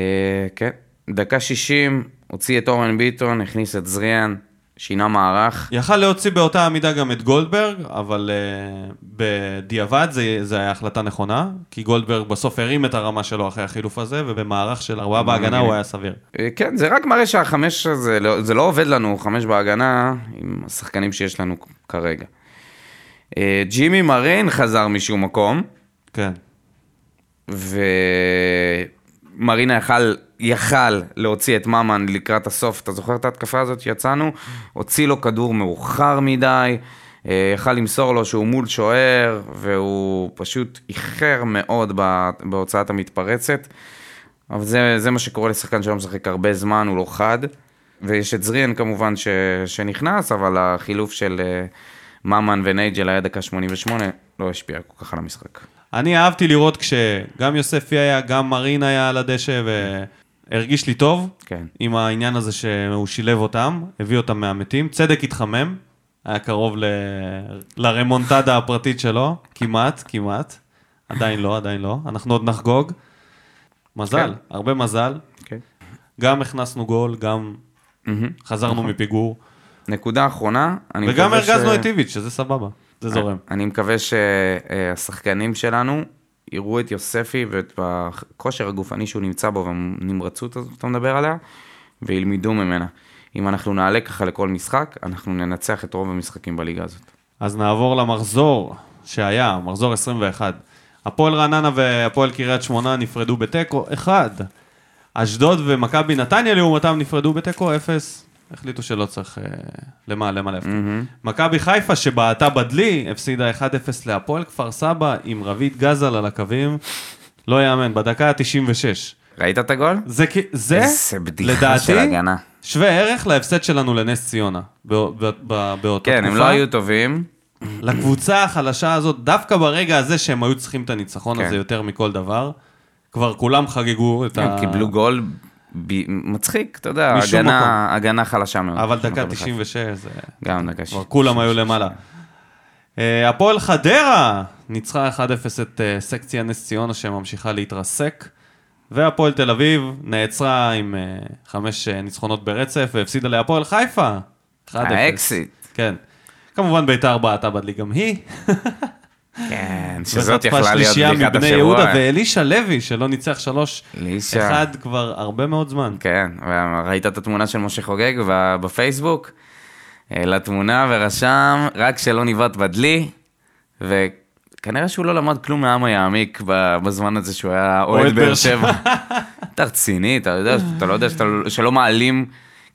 Speaker 2: כן. דקה 60, הוציא את אורן ביטון, הכניס את זריאן, שינה מערך.
Speaker 1: יכל להוציא באותה המידה גם את גולדברג, אבל uh, בדיעבד זה, זה היה החלטה נכונה, כי גולדברג בסוף הרים את הרמה שלו אחרי החילוף הזה, ובמערך של ארבעה בהגנה הוא היה סביר.
Speaker 2: אה, כן, זה רק מראה שהחמש הזה, לא- זה לא עובד לנו, חמש בהגנה, עם השחקנים שיש לנו כרגע. אה, ג'ימי מרין חזר משום מקום,
Speaker 1: כן.
Speaker 2: ומרינה יכל, יכל להוציא את ממן לקראת הסוף. אתה זוכר את ההתקפה הזאת שיצאנו? הוציא לו כדור מאוחר מדי, אה, יכל למסור לו שהוא מול שוער, והוא פשוט איחר מאוד ב- בהוצאת המתפרצת. אבל זה, זה מה שקורה לשחקן שלא משחק הרבה זמן, הוא לא חד. ויש את זריאן כמובן ש, שנכנס, אבל החילוף של אה, ממן ונייג'ל היה דקה 88, לא השפיע כל כך על המשחק.
Speaker 1: אני אהבתי לראות כשגם יוספי היה, גם מרין היה על הדשא, והרגיש לי טוב.
Speaker 2: כן.
Speaker 1: עם העניין הזה שהוא שילב אותם, הביא אותם מהמתים. צדק התחמם, היה קרוב ל... לרמונטדה הפרטית שלו, כמעט, כמעט. עדיין לא, עדיין לא. אנחנו עוד נחגוג. מזל,
Speaker 2: כן.
Speaker 1: הרבה מזל.
Speaker 2: כן.
Speaker 1: גם הכנסנו גול, גם חזרנו מפיגור,
Speaker 2: נקודה אחרונה, נכון. אני
Speaker 1: וגם
Speaker 2: מקווה אה,
Speaker 1: הרגזנו את איביץ', שזה סבבה, זה זורם.
Speaker 2: אני מקווה שהשחקנים שלנו יראו את יוספי ואת הכושר הגופני שהוא נמצא בו והנמרצות הזאת שאתה מדבר עליה, וילמדו ממנה. אם אנחנו נעלה ככה לכל משחק, אנחנו ננצח את רוב המשחקים בליגה הזאת.
Speaker 1: אז נעבור למחזור שהיה, מחזור 21. הפועל רעננה והפועל קריית שמונה נפרדו בתיקו 1. אשדוד ומכבי נתניה לעומתם נפרדו בתיקו 0. החליטו שלא צריך אה, למה, למה להפתיע. מכבי חיפה שבעטה בדלי, הפסידה 1-0 להפועל כפר סבא עם רביד גזל על הקווים. לא יאמן, בדקה ה-96.
Speaker 2: ראית את הגול?
Speaker 1: זה, כי- זה
Speaker 2: איזה בדיחה
Speaker 1: לדעתי,
Speaker 2: של הגנה.
Speaker 1: שווה ערך להפסד שלנו לנס ציונה, בא, בא, בא, באותה
Speaker 2: כן,
Speaker 1: תקופה.
Speaker 2: הם לא היו טובים.
Speaker 1: לקבוצה החלשה הזאת, דווקא ברגע הזה שהם היו צריכים את הניצחון
Speaker 2: כן.
Speaker 1: הזה יותר מכל דבר, כבר כולם חגגו את
Speaker 2: הם
Speaker 1: ה...
Speaker 2: קיבלו גול ב- מצחיק, אתה יודע,
Speaker 1: משום
Speaker 2: הגנה- הגנה חלשה מאוד.
Speaker 1: אבל
Speaker 2: של
Speaker 1: דקה
Speaker 2: מכבי חיפה.
Speaker 1: 96, זה...
Speaker 2: גם דקה 90.
Speaker 1: כבר כולם היו למעלה. אה, הפועל חדרה ניצחה 1-0 את אה, סקציה נס ציונה שממשיכה להתרסק, והפועל תל אביב נעצרה עם אה, חמש אה, ניצחונות ברצף והפסידה להפועל חיפה. 1-0.
Speaker 2: האקסיט.
Speaker 1: כן. כמובן ביתר בעטה בדלי גם היא.
Speaker 2: כן, שזאת יכלה להיות בדיחת
Speaker 1: מבני יהודה
Speaker 2: השבוע.
Speaker 1: ואלישע לוי, שלא ניצח שלוש,
Speaker 2: אלישע.
Speaker 1: אחד כבר הרבה מאוד זמן.
Speaker 2: כן, ראית את התמונה של משה חוגג ב- בפייסבוק? העלה תמונה ורשם, רק שלא ניווט בדלי, וכנראה שהוא לא למד כלום מהעם היעמיק ב- בזמן הזה שהוא היה
Speaker 1: אוהד
Speaker 2: אוהד
Speaker 1: באר
Speaker 2: באר שבע. אתה רציני, אתה יודע, אתה לא יודע שאתה- שלא מעלים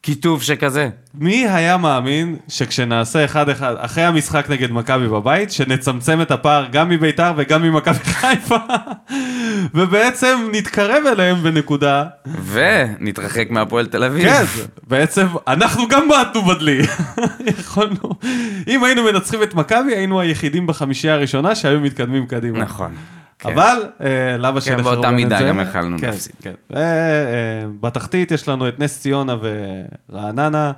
Speaker 2: כיתוב שכזה.
Speaker 1: מי היה מאמין שכשנעשה אחד-אחד, אחרי המשחק נגד מכבי בבית, שנצמצם את הפער גם מביתר וגם ממכבי חיפה, ובעצם נתקרב אליהם בנקודה.
Speaker 2: ונתרחק מהפועל תל אביב.
Speaker 1: כן, בעצם אנחנו גם בעטנו בדלי. יכולנו. אם היינו מנצחים את מכבי, היינו היחידים בחמישייה הראשונה שהיו מתקדמים קדימה.
Speaker 2: נכון. כן.
Speaker 1: אבל אה, למה שנחרבן את זה?
Speaker 2: באותה מידה גם יכלנו
Speaker 1: כן,
Speaker 2: להפסיד.
Speaker 1: כן. אה, אה, בתחתית יש לנו את נס ציונה ורעננה,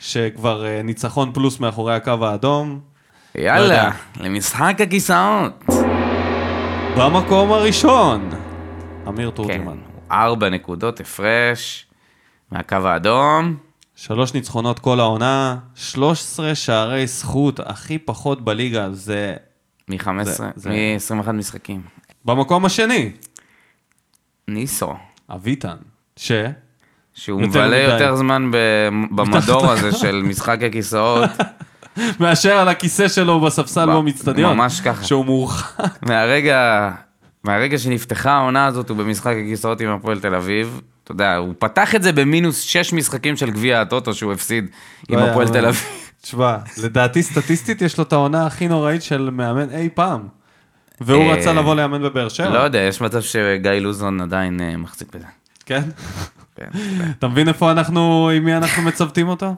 Speaker 1: שכבר אה, ניצחון פלוס מאחורי הקו האדום. לא יודע.
Speaker 2: יאללה, למשחק הכיסאות.
Speaker 1: במקום הראשון, אמיר
Speaker 2: כן,
Speaker 1: תורג'מן.
Speaker 2: ארבע נקודות הפרש מהקו האדום.
Speaker 1: שלוש ניצחונות כל העונה, 13 שערי זכות, הכי פחות בליגה, זה
Speaker 2: מ-15,
Speaker 1: זה- זה-
Speaker 2: מ-21 משחקים.
Speaker 1: במקום השני,
Speaker 2: ניסו,
Speaker 1: אביטן, ש...
Speaker 2: שהוא
Speaker 1: יותר
Speaker 2: מבלה
Speaker 1: מדי.
Speaker 2: יותר זמן ב- במדור הזה של משחק הכיסאות,
Speaker 1: מאשר על הכיסא שלו בספסל
Speaker 2: ב-
Speaker 1: באצטדיון.
Speaker 2: ממש ככה.
Speaker 1: שהוא מורחק.
Speaker 2: מהרגע, מהרגע שנפתחה העונה הזאת הוא במשחק הכיסאות עם הפועל תל אביב. אתה יודע, הוא פתח את זה במינוס 6 משחקים של גביע הטוטו שהוא הפסיד עם
Speaker 1: לא
Speaker 2: הפועל
Speaker 1: יאמן.
Speaker 2: תל אביב.
Speaker 1: תשמע, לדעתי סטטיסטית יש לו את העונה הכי נוראית של מאמן אי פעם. והוא
Speaker 2: אה,
Speaker 1: רצה לבוא לאמן בבאר שבע.
Speaker 2: לא יודע, יש מצב שגיא לוזון עדיין אה, מחזיק בזה.
Speaker 1: כן?
Speaker 2: כן.
Speaker 1: אתה מבין איפה אנחנו, עם מי אנחנו מצוותים אותו?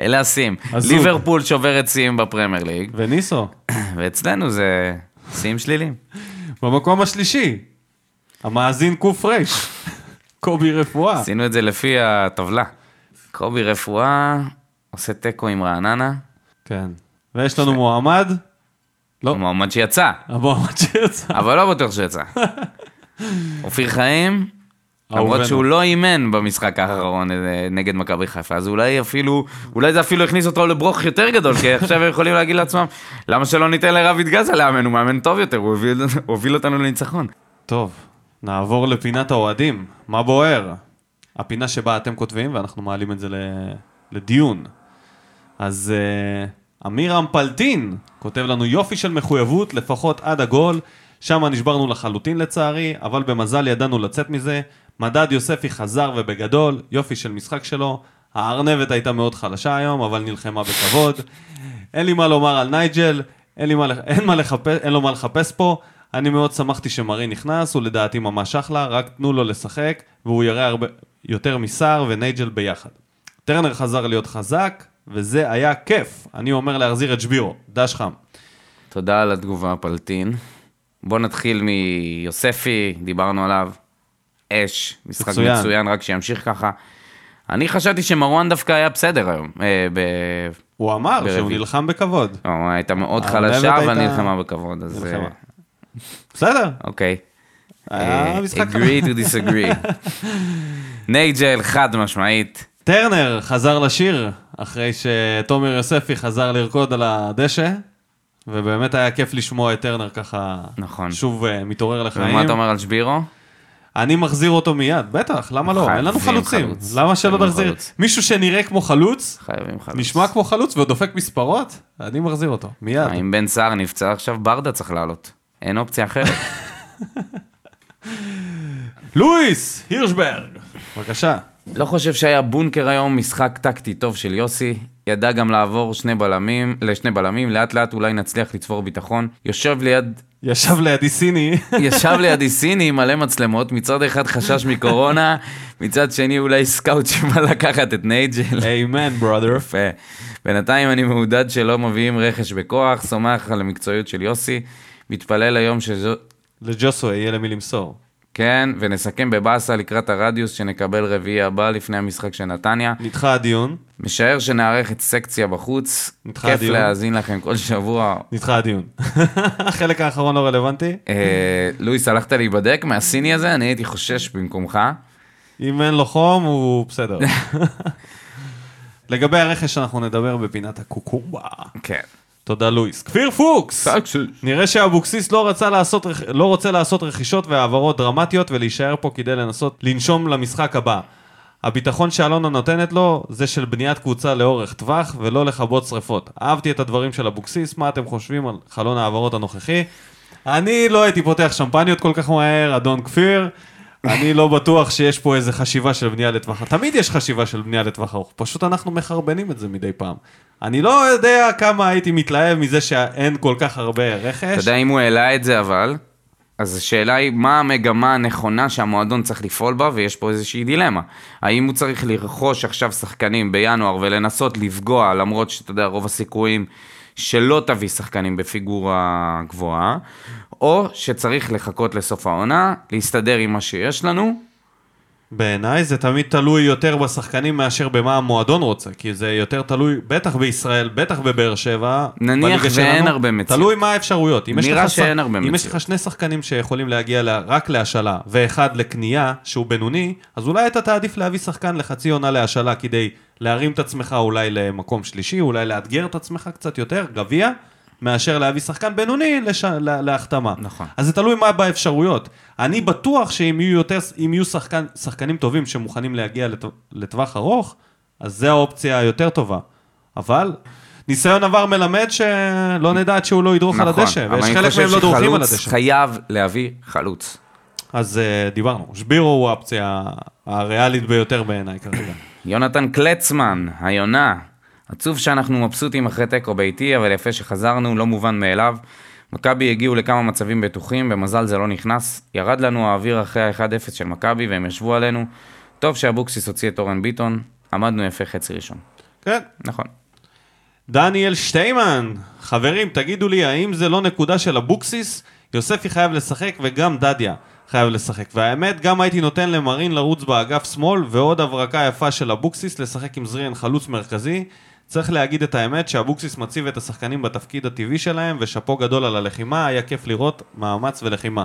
Speaker 2: אלה השיאים.
Speaker 1: הזוג.
Speaker 2: ליברפול שוברת שיאים בפרמייר ליג,
Speaker 1: וניסו,
Speaker 2: ואצלנו זה שיאים שליליים.
Speaker 1: אה. במקום השלישי, המאזין ק"ר, קובי רפואה.
Speaker 2: עשינו את זה לפי הטבלה. קובי רפואה עושה תיקו עם רעננה,
Speaker 1: כן. ויש לנו מועמד, לא.
Speaker 2: המועמד שיצא,
Speaker 1: המועמד שיצא.
Speaker 2: אבל לא בטוח שיצא. אופיר חיים, למרות
Speaker 1: אהובנו.
Speaker 2: שהוא לא אימן במשחק האחרון אה, נגד מכבי חיפה, אז אולי אפילו, אולי זה אפילו הכניס אותו לברוך יותר גדול, כי עכשיו הם יכולים להגיד לעצמם, למה שלא ניתן לרביד גזה לאמן, הוא מאמן טוב יותר, הוא הוביל- הוא הוביל אותנו לניצחון.
Speaker 1: טוב, נעבור לפינת האוהדים. מה בוער? הפינה שבה אתם כותבים ואנחנו מעלים את זה ל- לדיון. אז uh, אמיר אמפלטין כותב לנו יופי של מחויבות, לפחות עד הגול. שם נשברנו לחלוטין לצערי, אבל במזל ידענו לצאת מזה. מדד יוספי חזר ובגדול, יופי של משחק שלו. הארנבת הייתה מאוד חלשה היום, אבל נלחמה בכבוד. אין לי מה לומר על נייג'ל, אין, לי מה, לח- אין, מה לחפש, אין לו מה לחפש פה. אני מאוד שמחתי שמרי נכנס, הוא לדעתי ממש אחלה, רק תנו לו לשחק, והוא יראה הרבה יותר מסער ונייג'ל ביחד. טרנר חזר להיות חזק, וזה היה כיף. אני אומר להחזיר את שבירו, דש חם.
Speaker 2: תודה על התגובה, פלטין. בואו נתחיל מיוספי, דיברנו עליו. אש, משחק
Speaker 1: מצוין.
Speaker 2: מצוין, מצוין רק שימשיך ככה. אני חשבתי שמרואן דווקא היה בסדר היום. אה, ב...
Speaker 1: הוא אמר
Speaker 2: ברביעי.
Speaker 1: שהוא נלחם בכבוד.
Speaker 2: לא, הוא הייתה מאוד
Speaker 1: הארנבת
Speaker 2: חלשה, אבל
Speaker 1: אה, הייתה-
Speaker 2: נלחמה בכבוד, אז... אה,
Speaker 1: נלחמה. בסדר,
Speaker 2: אוקיי.
Speaker 1: היה
Speaker 2: אה,
Speaker 1: משחק
Speaker 2: agree to disagree. נייג'ל, חד משמעית.
Speaker 1: טרנר חזר לשיר, אחרי שתומר יוספי חזר לרקוד על הדשא, ובאמת היה כיף לשמוע את טרנר ככה,
Speaker 2: נכון.
Speaker 1: שוב אה, מתעורר לחיים.
Speaker 2: ומה אתה אומר על שבירו?
Speaker 1: אני מחזיר אותו מיד, בטח, למה לא? אין לנו
Speaker 2: חייבים
Speaker 1: חלוצים.
Speaker 2: חלוץ.
Speaker 1: למה שלא
Speaker 2: חייבים
Speaker 1: נחזיר?
Speaker 2: חלוץ.
Speaker 1: מישהו שנראה כמו חלוץ,
Speaker 2: חייבים חלוץ.
Speaker 1: נשמע כמו חלוץ ועוד דופק מספרות, אני מחזיר אותו, מיד.
Speaker 2: אם בן סער נפצע עכשיו, ברדה צריך לעלות. אין אופציה אחרת.
Speaker 1: לואיס הירשברג, בבקשה.
Speaker 2: לא חושב שהיה בונקר היום משחק טקטי טוב של יוסי. ידע גם לעבור שני בלמים, לשני בלמים, לאט לאט אולי נצליח לצבור ביטחון. יושב ליד,
Speaker 1: ישב לידי סיני,
Speaker 2: ישב לידי סיני עם מלא מצלמות, מצד אחד חשש מקורונה, מצד שני אולי סקאוט שבא לקחת את נייג'ל.
Speaker 1: איימן ברודר.
Speaker 2: יפה. בינתיים אני מעודד שלא מביאים רכש בכוח, סומך על המקצועיות של יוסי, מתפלל היום שזו...
Speaker 1: לג'וסווה יהיה למי למסור.
Speaker 2: כן, ונסכם בבאסה לקראת הרדיוס שנקבל רביעי הבא לפני המשחק של נתניה.
Speaker 1: נדחה הדיון,
Speaker 2: משער שנערך את סקציה בחוץ,
Speaker 1: נדחה
Speaker 2: כיף
Speaker 1: הדיון.
Speaker 2: להאזין לכם כל שבוע.
Speaker 1: נדחה הדיון. החלק האחרון לא רלוונטי.
Speaker 2: אה, לואיס, הלכת להיבדק מהסיני הזה? אני הייתי חושש במקומך.
Speaker 1: אם אין לו חום, הוא בסדר. לגבי הרכש אנחנו נדבר בפינת הקוקומבה.
Speaker 2: כן.
Speaker 1: תודה לואיס. כפיר פוקס! נראה שאבוקסיס לא, רצה לעשות, רכ- לא רוצה לעשות רכישות והעברות דרמטיות ולהישאר פה כדי לנסות לנשום למשחק הבא. הביטחון שאלונה נותנת לו זה של בניית קבוצה לאורך טווח ולא לכבות שריפות. אהבתי את הדברים של אבוקסיס, מה אתם חושבים על חלון ההעברות הנוכחי? אני לא הייתי פותח שמפניות כל כך מהר, אדון כפיר. אני לא בטוח שיש פה איזה חשיבה של בנייה לטווח ארוך. תמיד יש חשיבה של בנייה לטווח ארוך, פשוט אנחנו מחרבנים את זה מדי פעם. אני לא יודע כמה הייתי מתלהב מזה שאין כל כך הרבה
Speaker 2: אתה
Speaker 1: רכש.
Speaker 2: יודע אם הוא העלה את זה אבל, אז השאלה היא מה המגמה הנכונה שהמועדון צריך לפעול בה, ויש פה איזושהי דילמה. האם הוא צריך לרכוש עכשיו שחקנים בינואר ולנסות לפגוע, למרות שאתה יודע, רוב הסיכויים שלא תביא שחקנים בפיגורה גבוהה, או שצריך לחכות לסוף העונה, להסתדר עם מה שיש לנו.
Speaker 1: בעיניי זה תמיד תלוי יותר בשחקנים מאשר במה המועדון רוצה, כי זה יותר תלוי, בטח בישראל, בטח בבאר שבע.
Speaker 2: נניח
Speaker 1: בליגה
Speaker 2: ואין הרבה מציאות.
Speaker 1: תלוי מה האפשרויות. אם יש
Speaker 2: נראה
Speaker 1: לך שח-
Speaker 2: שאין הרבה
Speaker 1: אם יש
Speaker 2: מציאות.
Speaker 1: לך שני שחקנים שיכולים להגיע לה, רק להשאלה, ואחד לקנייה, שהוא בינוני, אז אולי אתה תעדיף להביא שחקן לחצי עונה להשאלה כדי להרים את עצמך אולי למקום שלישי, אולי לאתגר את עצמך קצת יותר, גביע, מאשר להביא שחקן בינוני לש... לה... להחתמה.
Speaker 2: נכון.
Speaker 1: אז זה תלוי מה באפשרויות. אני בטוח שאם יהיו, יותר, אם יהיו שחקן, שחקנים טובים שמוכנים להגיע לטו- לטווח ארוך, אז זה האופציה היותר טובה. אבל ניסיון עבר מלמד שלא נדע עד שהוא לא ידרוך על הדשא,
Speaker 2: נכון. אבל
Speaker 1: ויש
Speaker 2: אני
Speaker 1: חלק
Speaker 2: חושב
Speaker 1: מהם לא דורכים על
Speaker 2: שחלוץ
Speaker 1: הדשא.
Speaker 2: חייב להביא חלוץ.
Speaker 1: אז אה, דיברנו, שבירו הוא האופציה הריאלית ביותר בעיניי כרגע.
Speaker 2: יונתן קלצמן, היונה. עצוב שאנחנו מבסוטים אחרי תיקו ביתי, אבל יפה שחזרנו, לא מובן מאליו. מכבי הגיעו לכמה מצבים בטוחים, במזל זה לא נכנס. ירד לנו האוויר אחרי ה-1-0 של מכבי והם ישבו עלינו. טוב שאבוקסיס הוציא את אורן ביטון, עמדנו יפה חצי ראשון.
Speaker 1: כן.
Speaker 2: נכון.
Speaker 1: דניאל שטיימן, חברים, תגידו לי, האם זה לא נקודה של אבוקסיס? יוספי חייב לשחק וגם דדיה חייב לשחק. והאמת, גם הייתי נותן למרין לרוץ באגף שמאל, ועוד הברקה יפה של אבוקסיס לשחק עם זריאן חלוץ מרכזי. צריך להגיד את האמת שאבוקסיס מציב את השחקנים בתפקיד הטבעי שלהם, ושאפו גדול על הלחימה, היה כיף לראות מאמץ ולחימה.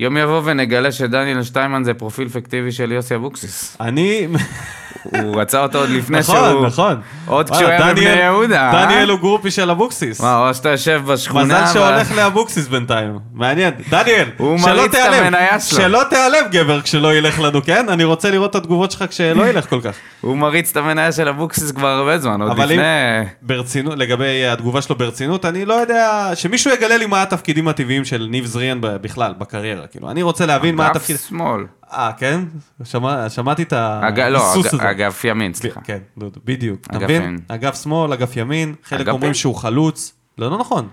Speaker 2: יום יבוא ונגלה שדניאל שטיימן זה פרופיל פיקטיבי של יוסי אבוקסיס.
Speaker 1: אני...
Speaker 2: הוא רצה אותו עוד לפני שהוא...
Speaker 1: נכון, נכון.
Speaker 2: עוד
Speaker 1: וואלה,
Speaker 2: כשהוא היה בבני
Speaker 1: דניאל-
Speaker 2: יהודה, אה?
Speaker 1: דניאל הוא גרופי של אבוקסיס.
Speaker 2: וואו, או שאתה יושב בשכונה...
Speaker 1: מזל
Speaker 2: ואז-
Speaker 1: שהולך לאבוקסיס בינתיים, מעניין. דניאל,
Speaker 2: הוא
Speaker 1: שלא
Speaker 2: מריץ את
Speaker 1: תיעלב.
Speaker 2: המניה שלו.
Speaker 1: שלא תיעלב גבר כשלא ילך לנו, כן? אני רוצה לראות את התגובות שלך כשלא ילך כל כך.
Speaker 2: הוא מריץ את המניה של אבוקסיס כבר הרבה זמן, עוד
Speaker 1: אבל
Speaker 2: לפני...
Speaker 1: אם- ברצינות, לגבי התגובה שלו ברצינות, אני לא יודע, שמישהו יגלה לי מה התפקידים הטבעיים של ניב זריאן ב- בכלל, בקריירה, כאילו. אני רוצה להבין מה
Speaker 2: באף
Speaker 1: התפקיד...
Speaker 2: שמאל.
Speaker 1: אה, כן? שמע- שמעתי את
Speaker 2: אג... לא,
Speaker 1: ההיסוס
Speaker 2: אג...
Speaker 1: אה, הזה.
Speaker 2: אגף ימין, סליחה.
Speaker 1: כן, דודו, בדיוק. אתה
Speaker 2: אגף
Speaker 1: מבין?
Speaker 2: ימין.
Speaker 1: אגף שמאל, אגף ימין, חלק
Speaker 2: אגפים.
Speaker 1: אומרים שהוא חלוץ. לא, לא נכון.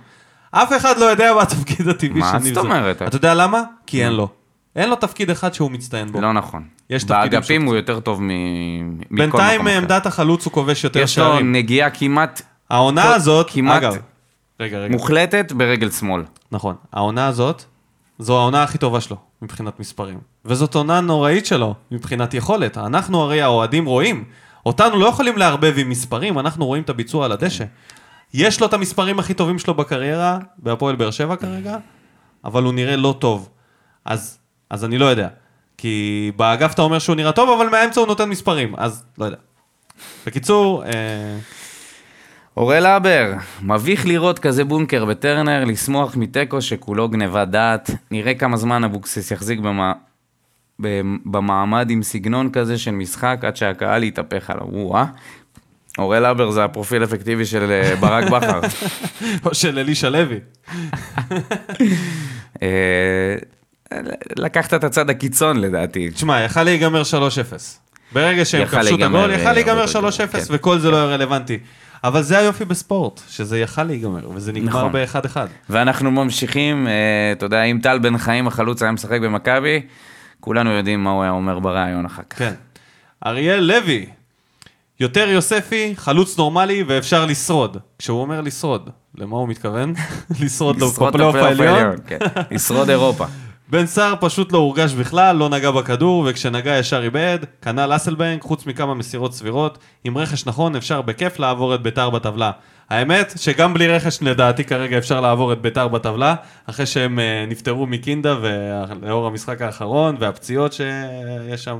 Speaker 1: אף אחד לא יודע מה התפקיד הטבעי של
Speaker 2: מה
Speaker 1: ניב
Speaker 2: זאת
Speaker 1: זריאן.
Speaker 2: אומרת?
Speaker 1: אתה יודע למה? כי אין לו. אין לו תפקיד אחד שהוא מצטיין בו.
Speaker 2: לא נכון.
Speaker 1: יש תפקידים
Speaker 2: באגפים הוא יותר טוב מ... מכל
Speaker 1: בינתיים
Speaker 2: מקום אחר.
Speaker 1: מעמדת החלוץ הוא כובש יותר
Speaker 2: יש לו
Speaker 1: שערים.
Speaker 2: נגיעה כמעט
Speaker 1: העונה
Speaker 2: כל-
Speaker 1: הזאת,
Speaker 2: כמעט-
Speaker 1: אגב, רגע, רגע,
Speaker 2: מוחלטת ברגל שמאל.
Speaker 1: נכון. העונה הזאת, זו העונה הכי טובה שלו, מבחינת מספרים. וזאת עונה נוראית שלו, מבחינת יכולת. אנחנו הרי האוהדים רואים. אותנו לא יכולים לערבב עם מספרים, אנחנו רואים את הביצוע על הדשא. יש לו את המספרים הכי טובים שלו בקריירה, בהפועל באר שבע כרגע, אבל הוא נראה לא טוב. אז, אז אני לא יודע. כי באגף אתה אומר שהוא נראה טוב, אבל מהאמצע הוא נותן מספרים, אז לא יודע. בקיצור, אה,
Speaker 2: אוראל הבר, מביך לראות כזה בונקר בטרנר, לשמוח מתיקו שכולו גניבת דעת. נראה כמה זמן אבוקסיס יחזיק במה... במ- במעמד עם סגנון כזה של משחק, עד שהקהל יתהפך עליו. וואו, אוראל הבר זה הפרופיל האפקטיבי של אה, ברק בכר.
Speaker 1: או של אלישע לוי.
Speaker 2: אה, לקחת את הצד הקיצון לדעתי.
Speaker 1: תשמע, יכל להיגמר 3-0. ברגע שהם
Speaker 2: יכל
Speaker 1: כבשו את
Speaker 2: להיגמר,
Speaker 1: הגול, יכל
Speaker 2: אה,
Speaker 1: להיגמר
Speaker 2: הרבה יותר
Speaker 1: 3-0,
Speaker 2: גרוע, כן.
Speaker 1: וכל זה לא היה רלוונטי. אבל זה היופי בספורט, שזה יכל להיגמר, וזה נגמר
Speaker 2: נכון.
Speaker 1: ב-1-1.
Speaker 2: ואנחנו ממשיכים, אה, אתה יודע, אם טל בן חיים החלוץ היה משחק במכבי, כולנו יודעים מה הוא היה אומר בריאיון אחר כך.
Speaker 1: כן. אריאל לוי, יותר יוספי, חלוץ נורמלי, ואפשר לשרוד. כשהוא אומר לשרוד, למה הוא מתכוון? לשרוד לו
Speaker 2: לשרוד את
Speaker 1: בפלייאוף
Speaker 2: הפלייאוף
Speaker 1: העליון.
Speaker 2: העליון, כן. לשרוד אירופה.
Speaker 1: בן סער פשוט לא הורגש בכלל, לא נגע בכדור, וכשנגע ישר איבד, כנ"ל אסלבנק, חוץ מכמה מסירות סבירות. עם רכש נכון, אפשר בכיף לעבור את ביתר בטבלה. האמת, שגם בלי רכש, לדעתי כרגע אפשר לעבור את ביתר בטבלה, אחרי שהם אה, נפטרו מקינדה, ולאור המשחק האחרון, והפציעות שיש שם.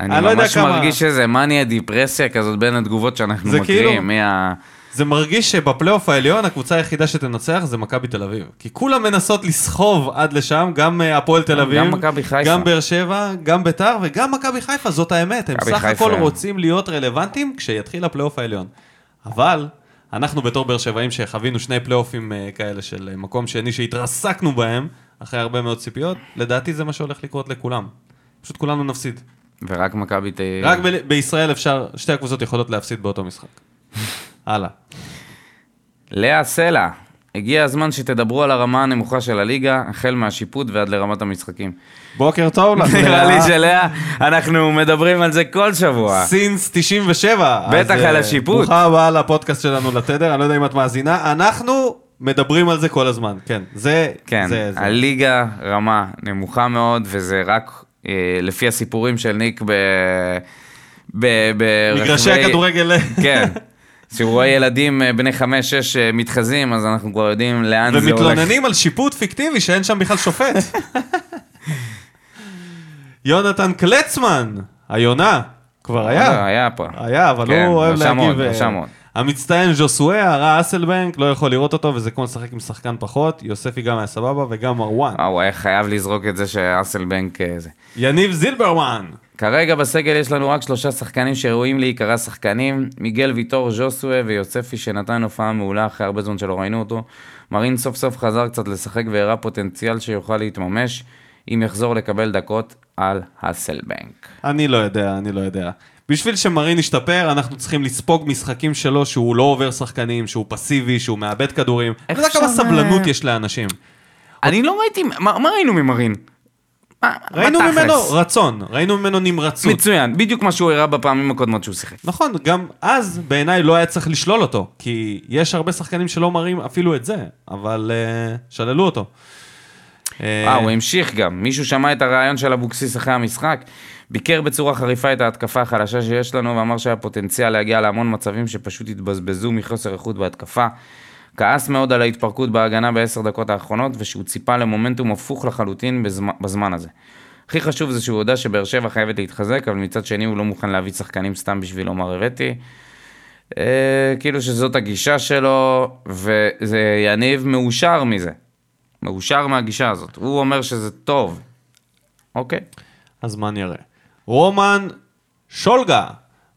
Speaker 2: אני
Speaker 1: אני לא יודע
Speaker 2: ממש
Speaker 1: כמה-
Speaker 2: מרגיש איזה מניה דיפרסיה כזאת בין התגובות שאנחנו
Speaker 1: זה כאילו-
Speaker 2: מכירים. מה-
Speaker 1: זה מרגיש שבפלייאוף העליון, הקבוצה היחידה שתנצח זה מכבי תל אביב. כי כולם מנסות לסחוב עד לשם, גם אה, הפועל תל אביב,
Speaker 2: מכבי חיפה.
Speaker 1: גם באר שבע, גם ביתר וגם מכבי חיפה, זאת האמת. הם
Speaker 2: מכבי
Speaker 1: סך
Speaker 2: חיפה.
Speaker 1: הכל רוצים להיות רלוונטיים כשיתחיל הפלייאוף העליון. אבל אנחנו בתור באר שבעים שחווינו שני פלייאופים אה, כאלה של אה, מקום שני שהתרסקנו בהם, אחרי הרבה מאוד ציפיות, לדעתי זה מה שהולך לקרות לכולם. פשוט כולנו נפסיד.
Speaker 2: ורק מכבי ת...
Speaker 1: רק ב- בישראל אפשר, שתי הקבוצות יכולות להפסיד באותו משחק. הלאה.
Speaker 2: לאה סלע, הגיע הזמן שתדברו על הרמה הנמוכה של הליגה, החל מהשיפוט ועד לרמת המשחקים.
Speaker 1: בוקר טוב לך.
Speaker 2: נראה לי לא
Speaker 1: לאה.
Speaker 2: שלאה, אנחנו מדברים על זה כל שבוע.
Speaker 1: סינס 97.
Speaker 2: בטח
Speaker 1: אז,
Speaker 2: על
Speaker 1: אה,
Speaker 2: השיפוט.
Speaker 1: ברוכה הבאה לפודקאסט שלנו לתדר, אני לא יודע אם את מאזינה. אנחנו מדברים על זה כל הזמן, כן. זה,
Speaker 2: כן,
Speaker 1: זה, זה.
Speaker 2: הליגה רמה נמוכה מאוד, וזה רק אה, לפי הסיפורים של ניק ב... ב... ברחבי...
Speaker 1: מגרשי הכדורגל.
Speaker 2: כן. שהוא רואה ילדים אה, בני חמש-שש אה, מתחזים, אז אנחנו כבר יודעים לאן זה הולך.
Speaker 1: ומתלוננים על שיפוט פיקטיבי שאין שם בכלל שופט. יונתן קלצמן, היונה, כבר
Speaker 2: אה,
Speaker 1: היה.
Speaker 2: היה פה.
Speaker 1: היה, אבל
Speaker 2: כן,
Speaker 1: הוא אוהב
Speaker 2: רשם עוד,
Speaker 1: להגיב. אה,
Speaker 2: רשם עוד.
Speaker 1: המצטיין ז'וסואה, הרע אסלבנק, לא יכול לראות אותו, וזה כמו לשחק עם שחקן פחות. יוספי גם היה סבבה, וגם מרואן.
Speaker 2: אה, הוא היה חייב לזרוק את זה שאסלבנק אה, זה.
Speaker 1: יניב זילברמן.
Speaker 2: כרגע בסגל יש לנו רק שלושה שחקנים שראויים להיקרא שחקנים, מיגל ויטור, ז'וסואה ויוספי שנתן הופעה מעולה אחרי הרבה זמן שלא ראינו אותו. מרין סוף סוף חזר קצת לשחק והראה פוטנציאל שיוכל להתממש, אם יחזור לקבל דקות. על הסלבנק.
Speaker 1: אני לא יודע, אני לא יודע. בשביל שמרין ישתפר, אנחנו צריכים לספוג משחקים שלו שהוא לא עובר שחקנים, שהוא פסיבי, שהוא מאבד כדורים. אני יודע
Speaker 2: אפשר,
Speaker 1: כמה
Speaker 2: אה,
Speaker 1: סבלנות יש לאנשים.
Speaker 2: אני לא ראיתי, מה מה ראינו ממרין? מה- מה
Speaker 1: ראינו
Speaker 2: תכלס?
Speaker 1: ממנו רצון, ראינו ממנו נמרצות.
Speaker 2: מצוין, בדיוק מה שהוא הראה בפעמים הקודמות שהוא שיחק.
Speaker 1: נכון, גם אז בעיניי לא היה צריך לשלול אותו, כי יש הרבה שחקנים שלא מראים אפילו את זה, אבל אה, שללו אותו. אה,
Speaker 2: אה, הוא המשיך גם. מישהו שמע את הרעיון של אבוקסיס אחרי המשחק? ביקר בצורה חריפה את ההתקפה החלשה שיש לנו ואמר שהיה פוטנציאל להגיע להמון מצבים שפשוט התבזבזו מחוסר איכות בהתקפה. כעס מאוד על ההתפרקות בהגנה בעשר דקות האחרונות ושהוא ציפה למומנטום הפוך לחלוטין בזמן, בזמן הזה. הכי חשוב זה שהוא הודה שבאר שבע חייבת להתחזק, אבל מצד שני הוא לא מוכן להביא שחקנים סתם בשביל לומר הבאתי. אה, כאילו שזאת הגישה שלו, וזה יניב מאושר מזה. מאושר מהגישה הזאת. הוא אומר שזה טוב. אוקיי.
Speaker 1: הזמן יראה. רומן שולגה,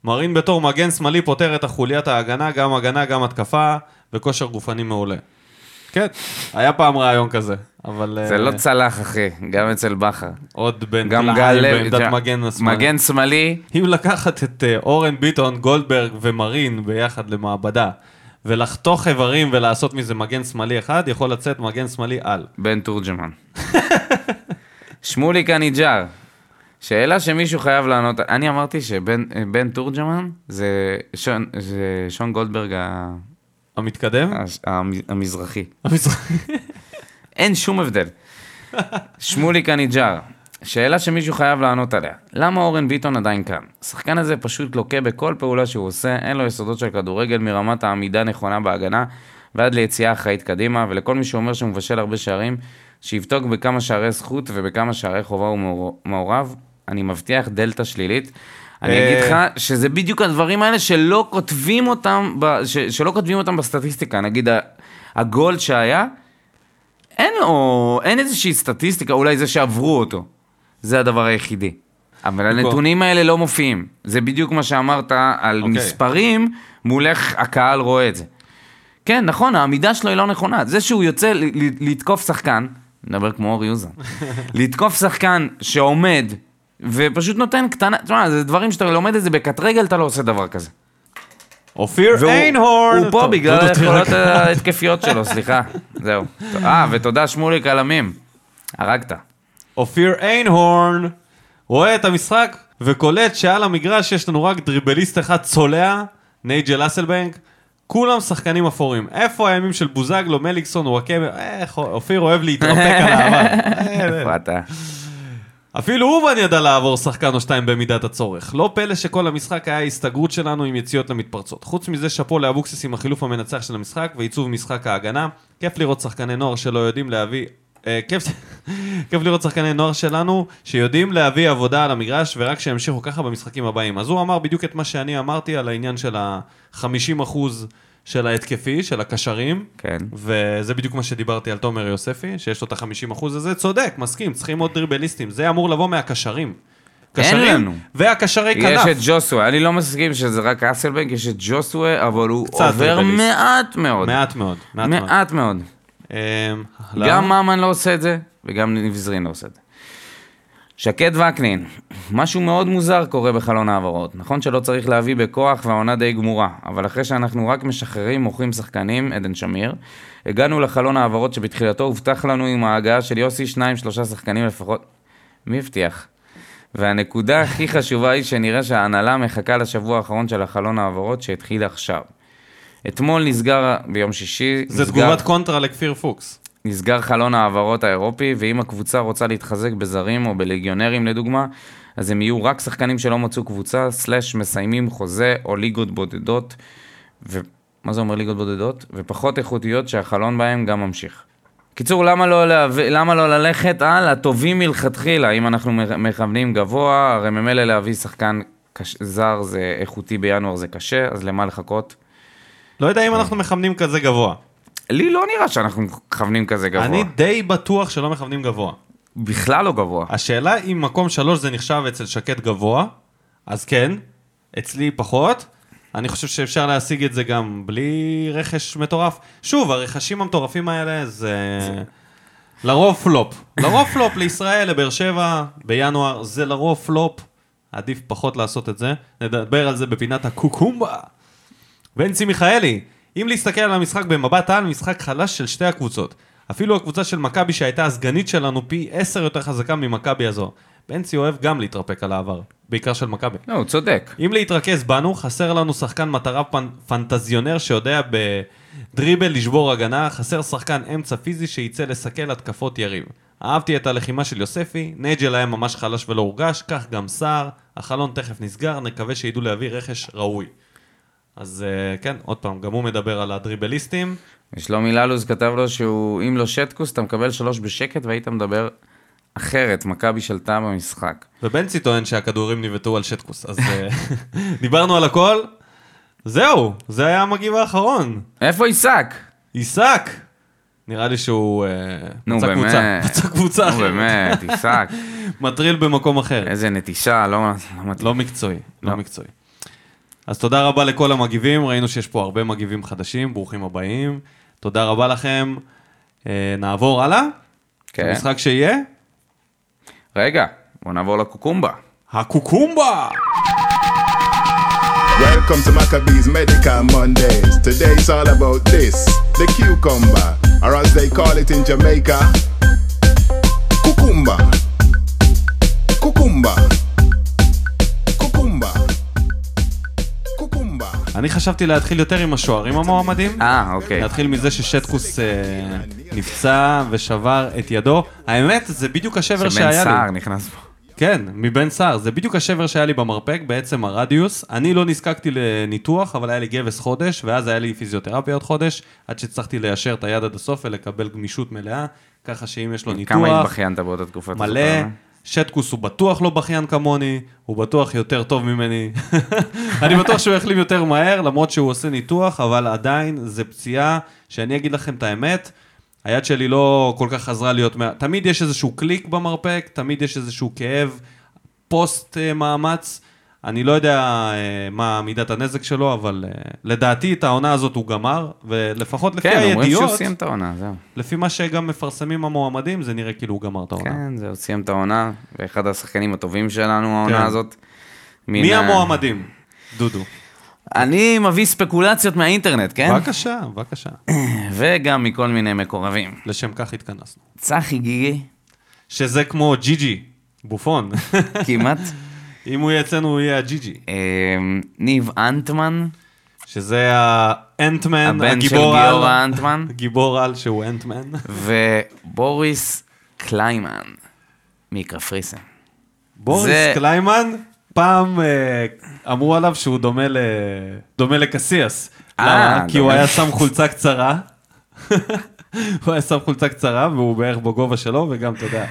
Speaker 1: מרין בתור מגן שמאלי פותר את החוליית ההגנה, גם הגנה, גם התקפה, וכושר גופני מעולה. כן, היה פעם רעיון כזה, אבל...
Speaker 2: זה
Speaker 1: אה,
Speaker 2: לא צלח, אחי. גם אצל בכר.
Speaker 1: עוד בן
Speaker 2: גם גל
Speaker 1: טלאי
Speaker 2: לוי.
Speaker 1: בעמדת
Speaker 2: תשמע,
Speaker 1: מגן השמאלי.
Speaker 2: מגן שמאלי.
Speaker 1: אם לקחת את אה, אורן ביטון, גולדברג ומרין ביחד למעבדה, ולחתוך איברים ולעשות מזה מגן שמאלי אחד, יכול לצאת מגן שמאלי על.
Speaker 2: בן תורג'מן. שמוליק הניג'ר. שאלה שמישהו חייב לענות. אני אמרתי שבן בן תורג'מן זה שון, זה שון גולדברג ה-
Speaker 1: המתקדם?
Speaker 2: ה- המזרחי.
Speaker 1: המזרח-
Speaker 2: אין שום הבדל. שמוליק הניג'ר, שאלה שמישהו חייב לענות עליה. למה אורן ביטון עדיין כאן? השחקן הזה פשוט לוקה בכל פעולה שהוא עושה, אין לו יסודות של כדורגל מרמת העמידה הנכונה בהגנה ועד ליציאה אחראית קדימה, ולכל מי שאומר שהוא מבשל הרבה שערים, שיבדוק בכמה שערי זכות ובכמה שערי חובה הוא מעור- מעורב, אני מבטיח דלתא שלילית. אני
Speaker 1: אה.
Speaker 2: אגיד לך שזה בדיוק הדברים האלה שלא כותבים אותם, ב, ש, שלא כותבים אותם בסטטיסטיקה. נגיד ה- הגול שהיה, אין לו, אין איזושהי סטטיסטיקה, אולי זה שעברו אותו. זה הדבר היחידי. אבל הנתונים האלה לא מופיעים. זה בדיוק מה שאמרת על
Speaker 1: אוקיי.
Speaker 2: מספרים, מול איך הקהל רואה את זה. כן, נכון, העמידה שלו היא לא נכונה. זה שהוא יוצא ל- ל- לתקוף שחקן, נדבר כמו אור יוזן, לתקוף שחקן שעומד ופשוט נותן קטנה, תשמע, זה דברים שאתה לומד את זה בקט רגל, אתה לא עושה דבר כזה.
Speaker 1: אופיר
Speaker 2: והוא-
Speaker 1: איינהורן!
Speaker 2: הוא פה
Speaker 1: טוב,
Speaker 2: בגלל
Speaker 1: דודו, תראה
Speaker 2: היכולות
Speaker 1: רק-
Speaker 2: ההתקפיות שלו, סליחה. זהו. אה, ותודה שמוליק על המים. הרגת.
Speaker 1: כן. אופיר איינהורן רואה את המשחק וקולט שעל המגרש יש לנו רק דריבליסט אחד צולע, נייג'ל אסלבנק. כולם שחקנים אפורים. איפה הימים של בוזגלו, מליקסון, וואקמה? אה, איך אופיר אוהב להתרפק על העבר. אה,
Speaker 2: איפה אתה?
Speaker 1: אפילו אומן ידע לעבור שחקן או שתיים במידת הצורך. לא פלא שכל המשחק היה ההסתגרות שלנו עם יציאות למתפרצות. חוץ מזה, שאפו לאבוקסיס עם החילוף המנצח של המשחק ועיצוב משחק ההגנה. כיף לראות שחקני נוער שלא יודעים להביא... אה, כיף, כיף לראות שחקני נוער שלנו שיודעים להביא עבודה על המגרש ורק שימשיכו ככה במשחקים הבאים. אז הוא אמר בדיוק את מה שאני אמרתי על העניין של ה-50% של ההתקפי, של הקשרים.
Speaker 2: כן.
Speaker 1: וזה בדיוק מה שדיברתי על תומר יוספי, שיש לו את ה-50 אחוז הזה, צודק, מסכים, צריכים עוד דריבליסטים, זה אמור לבוא מהקשרים.
Speaker 2: אין
Speaker 1: קשרים
Speaker 2: לנו.
Speaker 1: והקשרי
Speaker 2: יש את
Speaker 1: כנף.
Speaker 2: ג'וסווה, אני לא מסכים שזה רק אסלבנק, יש את ג'וסווה, אבל הוא
Speaker 1: קצת
Speaker 2: עובר
Speaker 1: ריבליסט.
Speaker 2: מעט מאוד.
Speaker 1: מעט מאוד, מעט מאוד.
Speaker 2: מעט מאוד.
Speaker 1: אמ, הלאה.
Speaker 2: גם ממן לא עושה את זה, וגם ניב זרין לא עושה את זה. שקד וקנין, משהו מאוד מוזר קורה בחלון ההעברות. נכון שלא צריך להביא בכוח והעונה די גמורה, אבל אחרי שאנחנו רק משחררים, מוכרים שחקנים, עדן שמיר, הגענו לחלון ההעברות שבתחילתו הובטח לנו עם ההגעה של יוסי שניים, שלושה שחקנים לפחות. מי הבטיח? והנקודה הכי חשובה היא שנראה שההנהלה מחכה לשבוע האחרון של החלון ההעברות שהתחיל עכשיו. אתמול נסגר, ביום שישי,
Speaker 1: זה
Speaker 2: נסגר...
Speaker 1: תגובת קונטרה לכפיר פוקס.
Speaker 2: נסגר חלון ההעברות האירופי, ואם הקבוצה רוצה להתחזק בזרים או בלגיונרים לדוגמה, אז הם יהיו רק שחקנים שלא מצאו קבוצה, סלאש מסיימים חוזה או ליגות בודדות, ו... מה זה אומר ליגות בודדות? ופחות איכותיות שהחלון בהם גם ממשיך. קיצור, למה לא, להב... למה לא ללכת על הטובים מלכתחילה, אם אנחנו מ- מכוונים גבוה, הרי ממילא להביא שחקן קש... זר זה איכותי בינואר זה קשה, אז למה לחכות?
Speaker 1: לא יודע אם אנחנו מכוונים כזה גבוה.
Speaker 2: לי לא נראה שאנחנו מכוונים כזה גבוה.
Speaker 1: אני די בטוח שלא מכוונים גבוה.
Speaker 2: בכלל לא גבוה.
Speaker 1: השאלה אם מקום שלוש זה נחשב אצל שקד גבוה, אז כן, אצלי פחות. אני חושב שאפשר להשיג את זה גם בלי רכש מטורף. שוב, הרכשים המטורפים האלה זה... לרוב פלופ. לרוב פלופ לישראל, לבאר שבע, בינואר, זה לרוב פלופ. עדיף פחות לעשות את זה. נדבר על זה בפינת הקוקומבה. בנצי מיכאלי, אם להסתכל על המשחק במבט על, משחק חלש של שתי הקבוצות. אפילו הקבוצה של מכבי שהייתה הסגנית שלנו פי עשר יותר חזקה ממכבי הזו. בנצי אוהב גם להתרפק על העבר, בעיקר של מכבי.
Speaker 2: לא, הוא צודק.
Speaker 1: אם להתרכז בנו, חסר לנו שחקן מטרה פנ... פנטזיונר שיודע בדריבל לשבור הגנה, חסר שחקן אמצע פיזי שייצא לסכל התקפות יריב. אהבתי את הלחימה של יוספי, נייג'ל היה ממש חלש ולא הורגש, כך גם סער, החלון תכף נסגר, נקווה שידעו להביא רכש ראוי. אז אה, כן, עוד פעם, גם הוא מדבר על הדריבליסטים.
Speaker 2: שלומי ללוז כתב לו שהוא, אם לא שטקוס, אתה מקבל שלוש בשקט והיית מדבר אחרת. מכבי שלטה במשחק.
Speaker 1: ובנצי טוען שהכדורים ניבטו על שטקוס, אז אה, דיברנו על הכל. זהו, זה היה המגיב האחרון.
Speaker 2: איפה עיסק?
Speaker 1: עיסק! נראה לי שהוא אה,
Speaker 2: נו,
Speaker 1: מצא
Speaker 2: באמת.
Speaker 1: קבוצה, מצא קבוצה
Speaker 2: נו
Speaker 1: אחרת.
Speaker 2: באמת, עיסק.
Speaker 1: מטריל במקום אחר.
Speaker 2: איזה נטישה, לא... לא מת-
Speaker 1: לא מקצועי, לא
Speaker 2: לא.
Speaker 1: מקצועי. אז תודה רבה לכל המגיבים, ראינו שיש פה הרבה מגיבים חדשים, ברוכים הבאים. תודה רבה לכם. אה, נעבור הלאה,
Speaker 2: כן.
Speaker 1: לא, המשחק שיהיה,
Speaker 2: רגע, בוא נעבור לקוקומבה.
Speaker 1: הקוקומבה!
Speaker 4: Welcome to Maccabees Medical Mondays. Today it's all about this the cucumber, or as they call it in Jamaica, cucumba. Cucumba. Cucumba. Cucumba.
Speaker 1: אני חשבתי להתחיל יותר עם השוערים המועמדים.
Speaker 2: אה, אוקיי.
Speaker 1: נתחיל מזה ששטקוס אה, נפצע ושבר את ידו. האמת, זה בדיוק השבר
Speaker 2: שבן
Speaker 1: שהיה לי.
Speaker 2: סער נכנס פה.
Speaker 1: כן, מבן סער. זה בדיוק השבר שהיה לי במרפק, בעצם הרדיוס. אני לא נזקקתי לניתוח, אבל היה לי גבס חודש, ואז היה לי פיזיותרפיה עוד חודש, עד שהצלחתי ליישר את היד עד הסוף ולקבל גמישות מלאה, ככה שאם יש לו
Speaker 2: כמה
Speaker 1: ניתוח
Speaker 2: התבכיינת באותה תקופה? לא? אתה
Speaker 1: מלא,
Speaker 2: זוכר?
Speaker 1: שטקוס הוא בטוח לא בכיין כמוני, הוא בטוח יותר טוב ממני. אני בטוח שהוא יחלים יותר מהר, למרות שהוא עושה ניתוח, אבל עדיין זה פציעה, שאני אגיד לכם את האמת, היד שלי לא כל כך חזרה להיות... מה- תמיד יש איזשהו קליק במרפק, תמיד יש איזשהו כאב פוסט אה, מאמץ. אני לא יודע אה, מה מידת הנזק שלו, אבל אה, לדעתי את העונה הזאת הוא גמר, ולפחות לפי
Speaker 2: כן, אומרים שהוא
Speaker 1: הידיעות,
Speaker 2: סיים את העונה, זהו.
Speaker 1: לפי מה שגם מפרסמים המועמדים, זה נראה כאילו הוא גמר את העונה.
Speaker 2: כן, זהו, סיים את העונה, ואחד השחקנים הטובים שלנו,
Speaker 1: כן.
Speaker 2: העונה הזאת. מן
Speaker 1: מי
Speaker 2: ה-
Speaker 1: המועמדים? דודו.
Speaker 2: אני מביא ספקולציות מהאינטרנט, כן?
Speaker 1: בבקשה, בבקשה.
Speaker 2: וגם מכל מיני מקורבים.
Speaker 1: לשם כך התכנסנו.
Speaker 2: צחי גיגי,
Speaker 1: שזה כמו ג'י-ג'י, בופון.
Speaker 2: כמעט.
Speaker 1: אם הוא יהיה אצלנו, הוא יהיה הג'י-ג'י.
Speaker 2: אמ, ניב אנטמן,
Speaker 1: שזה האנטמן,
Speaker 2: הבן של
Speaker 1: הגיבור על.
Speaker 2: גיורא אנטמן.
Speaker 1: גיבור על שהוא אנטמן.
Speaker 2: ובוריס קליימן מקפריסין.
Speaker 1: בוריס
Speaker 2: זה-
Speaker 1: קליימן, פעם אה, אמרו עליו שהוא דומה ל- דומה לקסיאס.
Speaker 2: אה,
Speaker 1: למה? כי הוא
Speaker 2: דומה.
Speaker 1: היה שם חולצה קצרה. הוא היה שם חולצה קצרה, והוא בערך בגובה שלו, וגם, אתה יודע,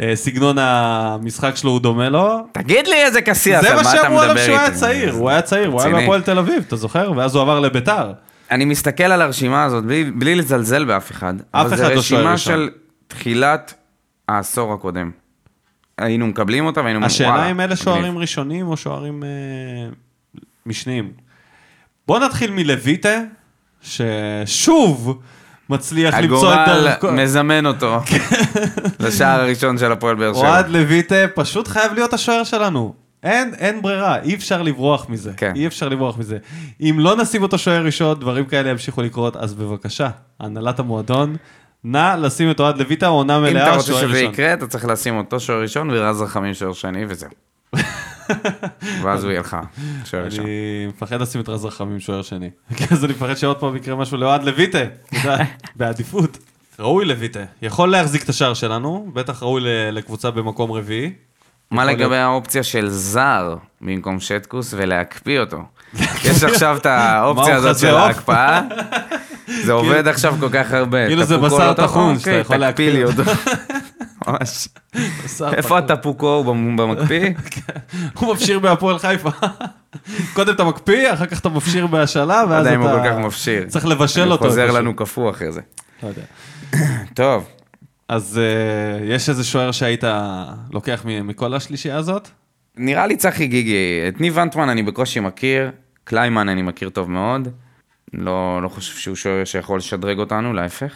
Speaker 1: אה, סגנון המשחק שלו הוא דומה לו,
Speaker 2: תגיד לי איזה קסיאס,
Speaker 1: זה
Speaker 2: על
Speaker 1: מה
Speaker 2: מה אתה
Speaker 1: שאמרו
Speaker 2: מדבר
Speaker 1: עליו
Speaker 2: איתי?
Speaker 1: שהוא היה צעיר, הוא היה צעיר, הוא היה
Speaker 2: רציני. אה,
Speaker 1: בהפועל תל אביב, אתה זוכר? ואז הוא עבר לביתר.
Speaker 2: אני מסתכל על הרשימה הזאת בלי, בלי לזלזל באף אחד.
Speaker 1: אחד
Speaker 2: אבל
Speaker 1: לא שוער
Speaker 2: זו רשימה
Speaker 1: ראשון.
Speaker 2: של תחילת העשור הקודם. היינו מקבלים אותה והיינו...
Speaker 1: השאלה
Speaker 2: וואלה,
Speaker 1: אם אלה
Speaker 2: מגניב.
Speaker 1: שוערים ראשונים או שוערים אה, משניים. בוא נתחיל מלויטה, ששוב מצליח למצוא את כן. דרכו.
Speaker 2: הגורל מזמן אותו לשער הראשון של הפועל באר שבע.
Speaker 1: אוהד לויטה פשוט חייב להיות השוער שלנו. אין, אין ברירה, אי אפשר לברוח מזה.
Speaker 2: כן.
Speaker 1: אי אפשר לברוח מזה. אם לא נשים אותו שוער ראשון, דברים כאלה ימשיכו לקרות, אז בבקשה, הנהלת המועדון, נא לשים את אוהד לויטה, עונה
Speaker 2: אם
Speaker 1: מלאה, שוער
Speaker 2: אתה רוצה
Speaker 1: ראשון.
Speaker 2: שזה יקרה, אתה צריך לשים אותו שוער ראשון ורז רחמים שוער שני וזהו. ואז הוא יהיה לך שוער ראשון.
Speaker 1: אני מפחד לשים את רז רחמים שוער שני. כי אז אני מפחד שעוד פעם יקרה משהו לאוהד לויטה, אתה יודע, בעדיפות. ראוי לויטה. יכול להחזיק את השער שלנו, בטח ראוי ל- לקבוצה במקום רביעי.
Speaker 2: מה
Speaker 1: יכול
Speaker 2: לגבי האופציה של זר במקום שטקוס ולהקפיא אותו? יש עכשיו את
Speaker 1: מה,
Speaker 2: האופציה
Speaker 1: הוא
Speaker 2: הזאת
Speaker 1: חזה
Speaker 2: של
Speaker 1: עוף?
Speaker 2: ההקפאה, זה עובד עכשיו כל כך הרבה.
Speaker 1: כאילו זה
Speaker 2: תפוקו
Speaker 1: בשר
Speaker 2: לא טוב?
Speaker 1: טחון שאתה
Speaker 2: אוקיי,
Speaker 1: יכול
Speaker 2: תקפיא לי
Speaker 1: להקפיא.
Speaker 2: אותו. ממש. איפה התפוקו הוא במ- במקפיא?
Speaker 1: הוא מפשיר בהפועל חיפה. קודם אתה מקפיא, אחר כך אתה מפשיר בהשאלה,
Speaker 2: לא
Speaker 1: ואז
Speaker 2: יודע אם הוא כל
Speaker 1: אתה...
Speaker 2: כך מפשיר.
Speaker 1: צריך לבשל אותו.
Speaker 2: הוא חוזר
Speaker 1: איפשהו.
Speaker 2: לנו קפוא אחרי זה.
Speaker 1: לא יודע.
Speaker 2: טוב,
Speaker 1: אז אה, יש איזה שוער שהיית לוקח מ- מכל השלישייה הזאת?
Speaker 2: נראה לי צחי גיגי. את ניב אנטמן אני בקושי מכיר, קליימן אני מכיר טוב מאוד. לא לא חושב שהוא שוער שיכול לשדרג אותנו, להפך.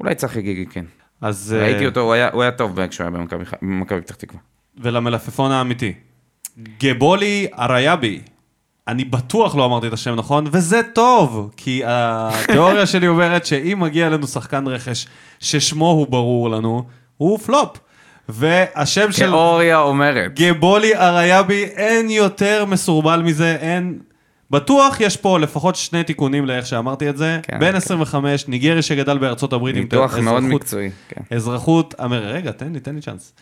Speaker 2: אולי צחי גיגי כן.
Speaker 1: אז... אה,
Speaker 2: ראיתי אותו, הוא היה- הוא היה טוב כשהוא היה במכבי ח- במכבי פתח תקווה.
Speaker 1: ולמלפפון האמיתי. גבולי אריאבי. אני בטוח לא אמרתי את השם נכון, וזה טוב, כי התיאוריה שלי אומרת שאם מגיע אלינו שחקן רכש ששמו הוא ברור לנו, הוא פלופ. והשם של
Speaker 2: תיאוריה אומרת.
Speaker 1: גבולי אריאבי, אין יותר מסורבל מזה, אין... בטוח יש פה לפחות שני תיקונים לאיך שאמרתי את זה.
Speaker 2: כן,
Speaker 1: בן
Speaker 2: כן.
Speaker 1: 25, ניגרי שגדל בארצות הברית עם
Speaker 2: ניתוח מאוד
Speaker 1: אזרחות-
Speaker 2: מקצועי. כן.
Speaker 1: אזרחות, אמר- רגע, תן לי, תן לי צ'אנס.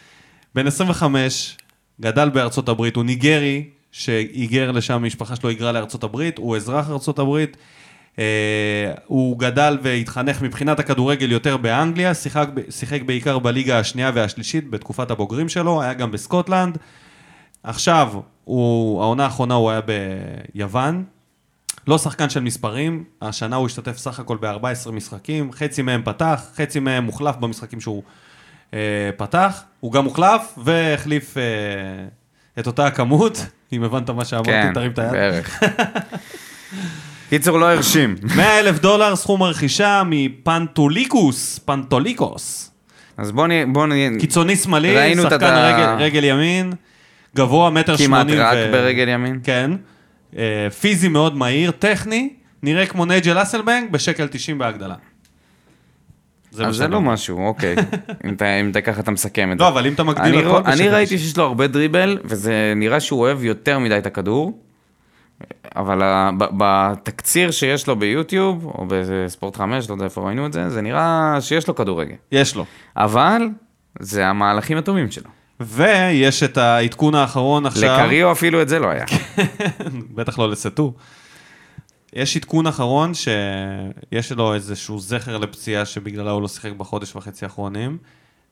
Speaker 1: בן 25, גדל בארצות הברית, הוא ניגרי, שהיגר לשם, המשפחה שלו היגרה לארצות הברית, הוא אזרח ארצות הברית. אה, הוא גדל והתחנך מבחינת הכדורגל יותר באנגליה, שיחק, ב- שיחק בעיקר בליגה השנייה והשלישית בתקופת הבוגרים שלו, היה גם בסקוטלנד. עכשיו, הוא, העונה האחרונה הוא היה ביוון, לא שחקן של מספרים, השנה הוא השתתף סך הכל ב-14 משחקים, חצי מהם פתח, חצי מהם הוחלף במשחקים שהוא אה, פתח, הוא גם הוחלף והחליף אה, את אותה הכמות, אם הבנת מה שאמרתי,
Speaker 2: כן,
Speaker 1: תרים את היד.
Speaker 2: בערך. קיצור, לא הרשים.
Speaker 1: 100 אלף דולר סכום הרכישה מפנטוליקוס, פנטוליקוס.
Speaker 2: אז בוא נהיה, בוא נהיה,
Speaker 1: קיצוני שמאלי,
Speaker 2: ראינו את
Speaker 1: שחקן
Speaker 2: ה-
Speaker 1: רגל, רגל ימין, גבוה מטר
Speaker 2: כמעט
Speaker 1: שמונים.
Speaker 2: רק ברגל ימין.
Speaker 1: כן. אה, פיזי מאוד מהיר, טכני, נראה כמו נייג'ל אסלבנג בשקל 90 בהגדלה. מה
Speaker 2: אז זה
Speaker 1: שאתה
Speaker 2: לא
Speaker 1: אומר.
Speaker 2: משהו, אוקיי. אם אתה- אם אתה ככה אתה מסכם את זה.
Speaker 1: לא, אבל אם אתה מגדיל
Speaker 2: אני
Speaker 1: הכל
Speaker 2: רוא-
Speaker 1: בשקל
Speaker 2: אני ראיתי
Speaker 1: 90.
Speaker 2: שיש לו הרבה דריבל, וזה נראה שהוא אוהב יותר מדי את הכדור, אבל ה- ב- בתקציר שיש לו ביוטיוב, או בספורט 5, לא יודע איפה ראינו את זה, זה נראה שיש לו כדורגל.
Speaker 1: יש לו.
Speaker 2: אבל זה המהלכים הטובים שלו.
Speaker 1: ויש את העדכון האחרון עכשיו.
Speaker 2: לקריו אפילו את זה לא היה.
Speaker 1: בטח לא לסטו. יש עדכון אחרון שיש לו איזשהו זכר לפציעה שבגללה הוא לא שיחק בחודש וחצי האחרונים,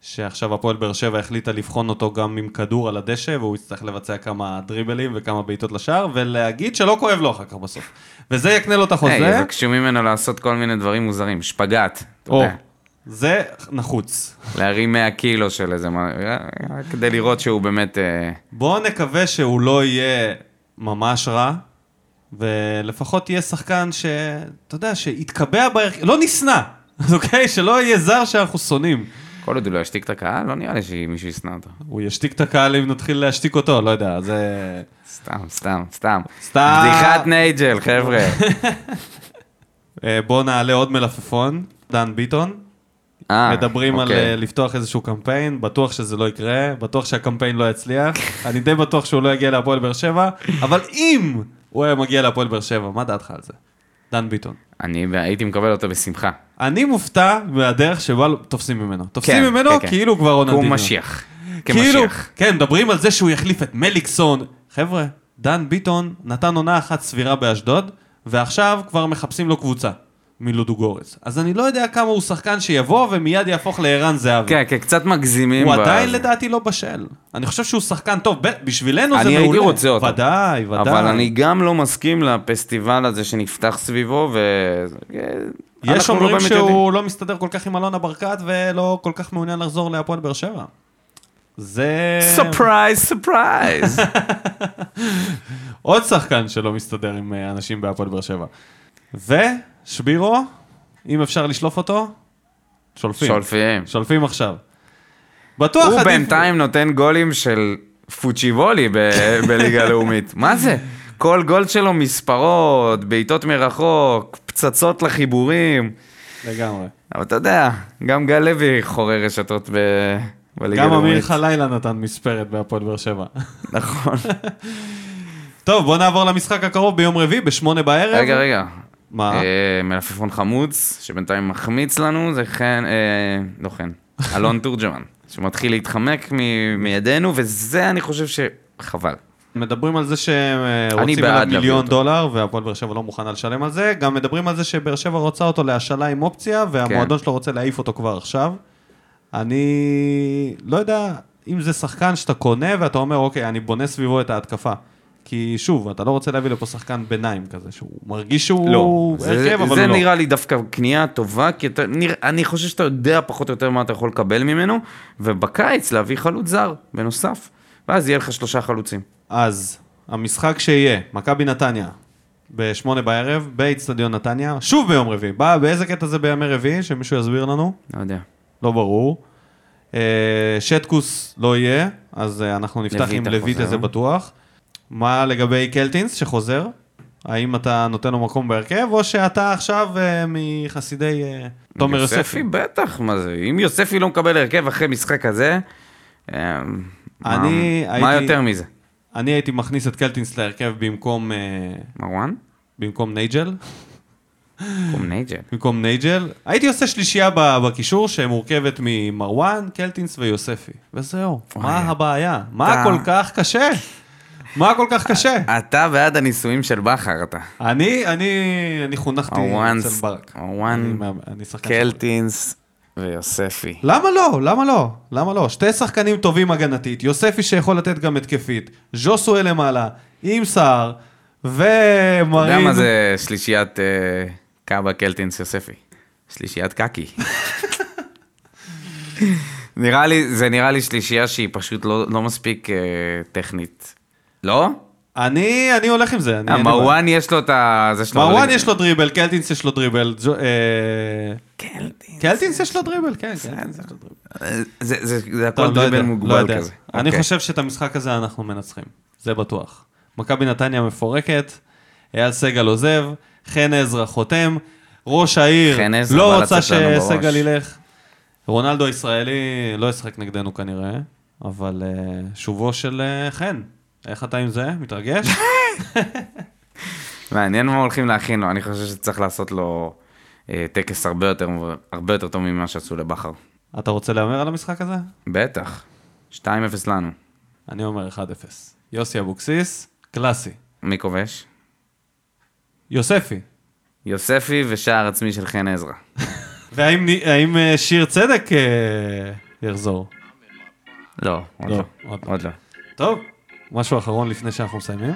Speaker 1: שעכשיו הפועל באר שבע החליטה לבחון אותו גם עם כדור על הדשא, והוא יצטרך לבצע כמה דריבלים וכמה בעיטות לשער, ולהגיד שלא כואב לו אחר כך בסוף. וזה יקנה לו את
Speaker 2: היי,
Speaker 1: החוזה,
Speaker 2: יבקשו ממנו לעשות כל מיני דברים מוזרים, שפגאט, אתה
Speaker 1: או,
Speaker 2: יודע,
Speaker 1: זה נחוץ.
Speaker 2: להרים 100 קילו של איזה, מה- אה, כדי לראות שהוא באמת... אה,
Speaker 1: בואו נקווה שהוא לא יהיה ממש רע, ולפחות יהיה שחקן ש... אתה יודע, שיתקבע בהרכב, לא נשנא, אז אוקיי? שלא יהיה זר שאנחנו שונאים.
Speaker 2: כל עוד הוא לא ישתיק את הקהל, לא נראה לי שמישהו ישנא אותו.
Speaker 1: הוא ישתיק את הקהל אם נתחיל להשתיק אותו, לא יודע, זה...
Speaker 2: סתם, סתם, סתם.
Speaker 1: סתם.
Speaker 2: בדיחת נייג'ל, חבר'ה.
Speaker 1: אה, בואו נעלה עוד מלפפון, דן ביטון.
Speaker 2: אה,
Speaker 1: מדברים על
Speaker 2: אוקיי.
Speaker 1: אה, לפתוח איזשהו קמפיין, בטוח שזה לא יקרה, בטוח שהקמפיין לא יצליח, אני די בטוח שהוא לא יגיע להפועל באר שבע, אבל אם הוא היה מגיע להפועל באר שבע, מה דעתך על זה? דן ביטון.
Speaker 2: אני הייתי מקבל אותו בשמחה.
Speaker 1: אני מופתע מהדרך שבה תופסים ממנו. תופסים
Speaker 2: כן,
Speaker 1: ממנו
Speaker 2: כן, כן.
Speaker 1: כאילו הוא כבר רונלדינו.
Speaker 2: הוא משיח.
Speaker 1: כאילו,
Speaker 2: כמשיח.
Speaker 1: כן, מדברים על זה שהוא יחליף את מליקסון. חבר'ה, דן ביטון נתן עונה אחת סבירה באשדוד, ועכשיו כבר מחפשים לו קבוצה מלודוגורץ. אז אני לא יודע כמה הוא שחקן שיבוא ומיד יהפוך לערן זהבי.
Speaker 2: כן, כן, קצת מגזימים.
Speaker 1: הוא
Speaker 2: ב-
Speaker 1: עדיין
Speaker 2: זה.
Speaker 1: לדעתי לא בשל. אני חושב שהוא שחקן טוב, ב- בשבילנו זה
Speaker 2: אני
Speaker 1: מעולה.
Speaker 2: הייתי רוצה אותו.
Speaker 1: ודאי, ודאי.
Speaker 2: אבל אני גם לא מסכים לפסטיבל הזה שנפתח סביבו, ו... אה,
Speaker 1: יש
Speaker 2: אנחנו לא
Speaker 1: אומרים
Speaker 2: באמת
Speaker 1: שהוא
Speaker 2: יודעים.
Speaker 1: לא מסתדר כל כך עם אלונה ברקת ולא כל כך מעוניין לחזור להפועל באר שבע. זה...
Speaker 2: סופרייז, סופרייז.
Speaker 1: עוד שחקן שלא מסתדר עם אה, אנשים בהפועל באר שבע. ושבירו, אם אפשר לשלוף אותו, שולפים.
Speaker 2: שולפים.
Speaker 1: שולפים עכשיו. בטוח
Speaker 2: הוא
Speaker 1: עדיף-
Speaker 2: בינתיים נותן גולים של פוצ'יבולי ב- בליגה הלאומית. מה זה? כל גול שלו מספרות, בעיטות מרחוק, פצצות לחיבורים.
Speaker 1: לגמרי.
Speaker 2: אבל אתה יודע, גם גל לוי חורר רשתות ב... בליגה
Speaker 1: גם אמיר
Speaker 2: הלאומית.
Speaker 1: חלילה נתן מספרת בהפועל באר שבע.
Speaker 2: נכון.
Speaker 1: טוב, בוא נעבור למשחק הקרוב ביום רביעי, בשמונה בערב.
Speaker 2: רגע, רגע.
Speaker 1: מה?
Speaker 2: אה, מלפפון חמוץ, שבינתיים מחמיץ לנו, זה חן, אה, לא חן, אלון תורג'מן, שמתחיל להתחמק מ- מידינו, וזה אני חושב שחבל.
Speaker 1: מדברים על זה שהם אה,
Speaker 2: אני
Speaker 1: רוצים
Speaker 2: בעד
Speaker 1: עליו
Speaker 2: להביא
Speaker 1: מיליון
Speaker 2: אותו.
Speaker 1: דולר, והפועל באר שבע לא מוכנה לשלם על זה. גם מדברים על זה שבאר שבע רוצה אותו להשאלה עם אופציה, והמועדון
Speaker 2: כן.
Speaker 1: שלו רוצה להעיף אותו כבר עכשיו. אני לא יודע אם זה שחקן שאתה קונה ואתה אומר, אוקיי, אני בונה סביבו את ההתקפה. כי שוב, אתה לא רוצה להביא לפה שחקן ביניים כזה, שהוא מרגיש שהוא
Speaker 2: לא. זה,
Speaker 1: הרכב, אבל
Speaker 2: זה
Speaker 1: הוא לא.
Speaker 2: נראה לי דווקא קנייה טובה, כי אתה, נרא, אני חושב שאתה יודע פחות או יותר מה אתה יכול לקבל ממנו, ובקיץ להביא חלוץ זר, בנוסף, ואז יהיה לך שלושה חלוצים.
Speaker 1: אז המשחק שיהיה, מכבי נתניה, בשמונה בערב, באיצטדיון נתניה, שוב ביום רביעי. בא, באיזה קטע זה בימי רביעי? שמישהו יסביר לנו.
Speaker 2: לא יודע.
Speaker 1: לא ברור. אה, שטקוס לא יהיה, אז אה, אנחנו נפתח
Speaker 2: לויטה
Speaker 1: עם לויטה,
Speaker 2: חוזר.
Speaker 1: זה בטוח. מה לגבי קלטינס שחוזר? האם אתה נותן לו מקום בהרכב, או שאתה עכשיו אה, מחסידי אה, תומר יוספי?
Speaker 2: יוספי בטח, מה זה, אם יוספי לא מקבל הרכב אחרי משחק כזה, אה, מה-
Speaker 1: אני
Speaker 2: מה
Speaker 1: הייתי-
Speaker 2: יותר מזה?
Speaker 1: אני הייתי מכניס את קלטינס להרכב במקום, אה,
Speaker 2: מרואן?
Speaker 1: במקום נייג'ל.
Speaker 2: קום נייג'ל.
Speaker 1: במקום נייג'ל. הייתי עושה שלישייה ב- בקישור שמורכבת ממרואן, קלטינס ויוספי. וזהו. מה הבעיה? מה
Speaker 2: אתה-
Speaker 1: כל כך קשה? מה כל כך קשה?
Speaker 2: אתה בעד הניסויים של בכר אתה.
Speaker 1: אני, אני, אני חונכתי
Speaker 2: מרואן,
Speaker 1: אצל ברק.
Speaker 2: מרואן,
Speaker 1: אני מאמן- אני שחקן של ברק.
Speaker 2: קלטינס ויוספי.
Speaker 1: למה לא? למה לא? למה לא? שתי שחקנים טובים הגנתית, יוספי שיכול לתת גם התקפית, ז'וסואל למעלה, עם סער,
Speaker 2: אתה יודע
Speaker 1: ומרין...
Speaker 2: מה זה שלישיית אה, קאבה קלטינס יוספי? שלישיית קקי. נראה לי, זה נראה לי שלישייה שהיא פשוט לא, לא מספיק אה, טכנית. לא?
Speaker 1: אני, אני הולך עם זה. אני- אני-
Speaker 2: אה, מרואן יש לו את ה... זה שלו.
Speaker 1: מרואן יש לו דריבל, קלטינס יש לו דריבל, ג'ו- אה,
Speaker 2: קלטינס.
Speaker 1: קלטינס יש לו דריבל, כן, קלטינס יש לו דריבל.
Speaker 2: זה, זה, זה, זה
Speaker 1: טוב,
Speaker 2: הכל
Speaker 1: לא יודע,
Speaker 2: דריבל
Speaker 1: לא
Speaker 2: מוגבל
Speaker 1: יודע.
Speaker 2: כזה.
Speaker 1: אני
Speaker 2: אוקיי.
Speaker 1: חושב שאת המשחק הזה אנחנו מנצחים, זה בטוח. מכבי נתניה מפורקת, אייל סגל עוזב, חן עזרא חותם, ראש העיר
Speaker 2: חן עזרא
Speaker 1: לא
Speaker 2: בא
Speaker 1: רוצה
Speaker 2: לצאת לנו
Speaker 1: שסגל
Speaker 2: בראש.
Speaker 1: ילך. רונלדו הישראלי לא ישחק נגדנו כנראה, אבל אה, שובו של אה, חן, איך אתה עם זה? מתרגש?
Speaker 2: מעניין מה הולכים להכין לו, אני חושב שצריך לעשות לו אה, טקס הרבה יותר, הרבה יותר טוב ממה שעשו לבכר.
Speaker 1: אתה רוצה להמר על המשחק הזה?
Speaker 2: בטח. 2-0 לנו.
Speaker 1: אני אומר 1-0. יוסי אבוקסיס, קלאסי.
Speaker 2: מי כובש?
Speaker 1: יוספי.
Speaker 2: יוספי ושער עצמי של חן עזרא.
Speaker 1: והאם נ- האם, אה, שיר צדק אה, יחזור?
Speaker 2: לא, עוד
Speaker 1: לא,
Speaker 2: לא.
Speaker 1: עוד לא.
Speaker 2: עוד לא.
Speaker 1: טוב, משהו אחרון לפני שאנחנו מסיימים?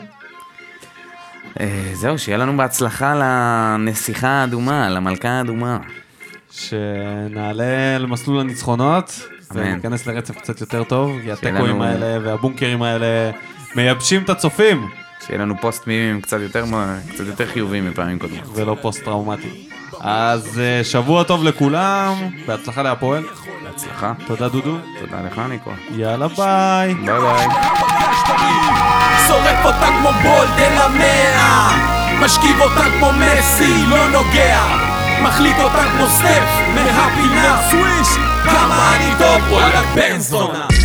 Speaker 2: אה, זהו, שיהיה לנו בהצלחה לנסיכה האדומה, למלכה האדומה.
Speaker 1: שנעלה למסלול הניצחונות,
Speaker 2: אמן.
Speaker 1: וניכנס לרצף קצת יותר טוב, כי
Speaker 2: שיהיה
Speaker 1: התיקואים
Speaker 2: לנו-
Speaker 1: האלה והבונקרים האלה מייבשים את הצופים,
Speaker 2: שיהיה לנו פוסט מימים קצת יותר, מ- קצת יותר חיובים מפעמים קודמות.
Speaker 1: ולא פוסט-טראומטי. אז אה, שבוע טוב לכולם, בהצלחה להפועל.
Speaker 2: בהצלחה.
Speaker 1: תודה דודו,
Speaker 2: תודה לך, ניקו.
Speaker 1: יאללה ביי.
Speaker 2: ביי ביי.
Speaker 5: שורף אותה כמו בולד אל המאה משכיב אותה כמו מסי, לא נוגע מחליט אותה כמו סטף מהפינה סוויש כמה אני טוב, וואלה בן זונה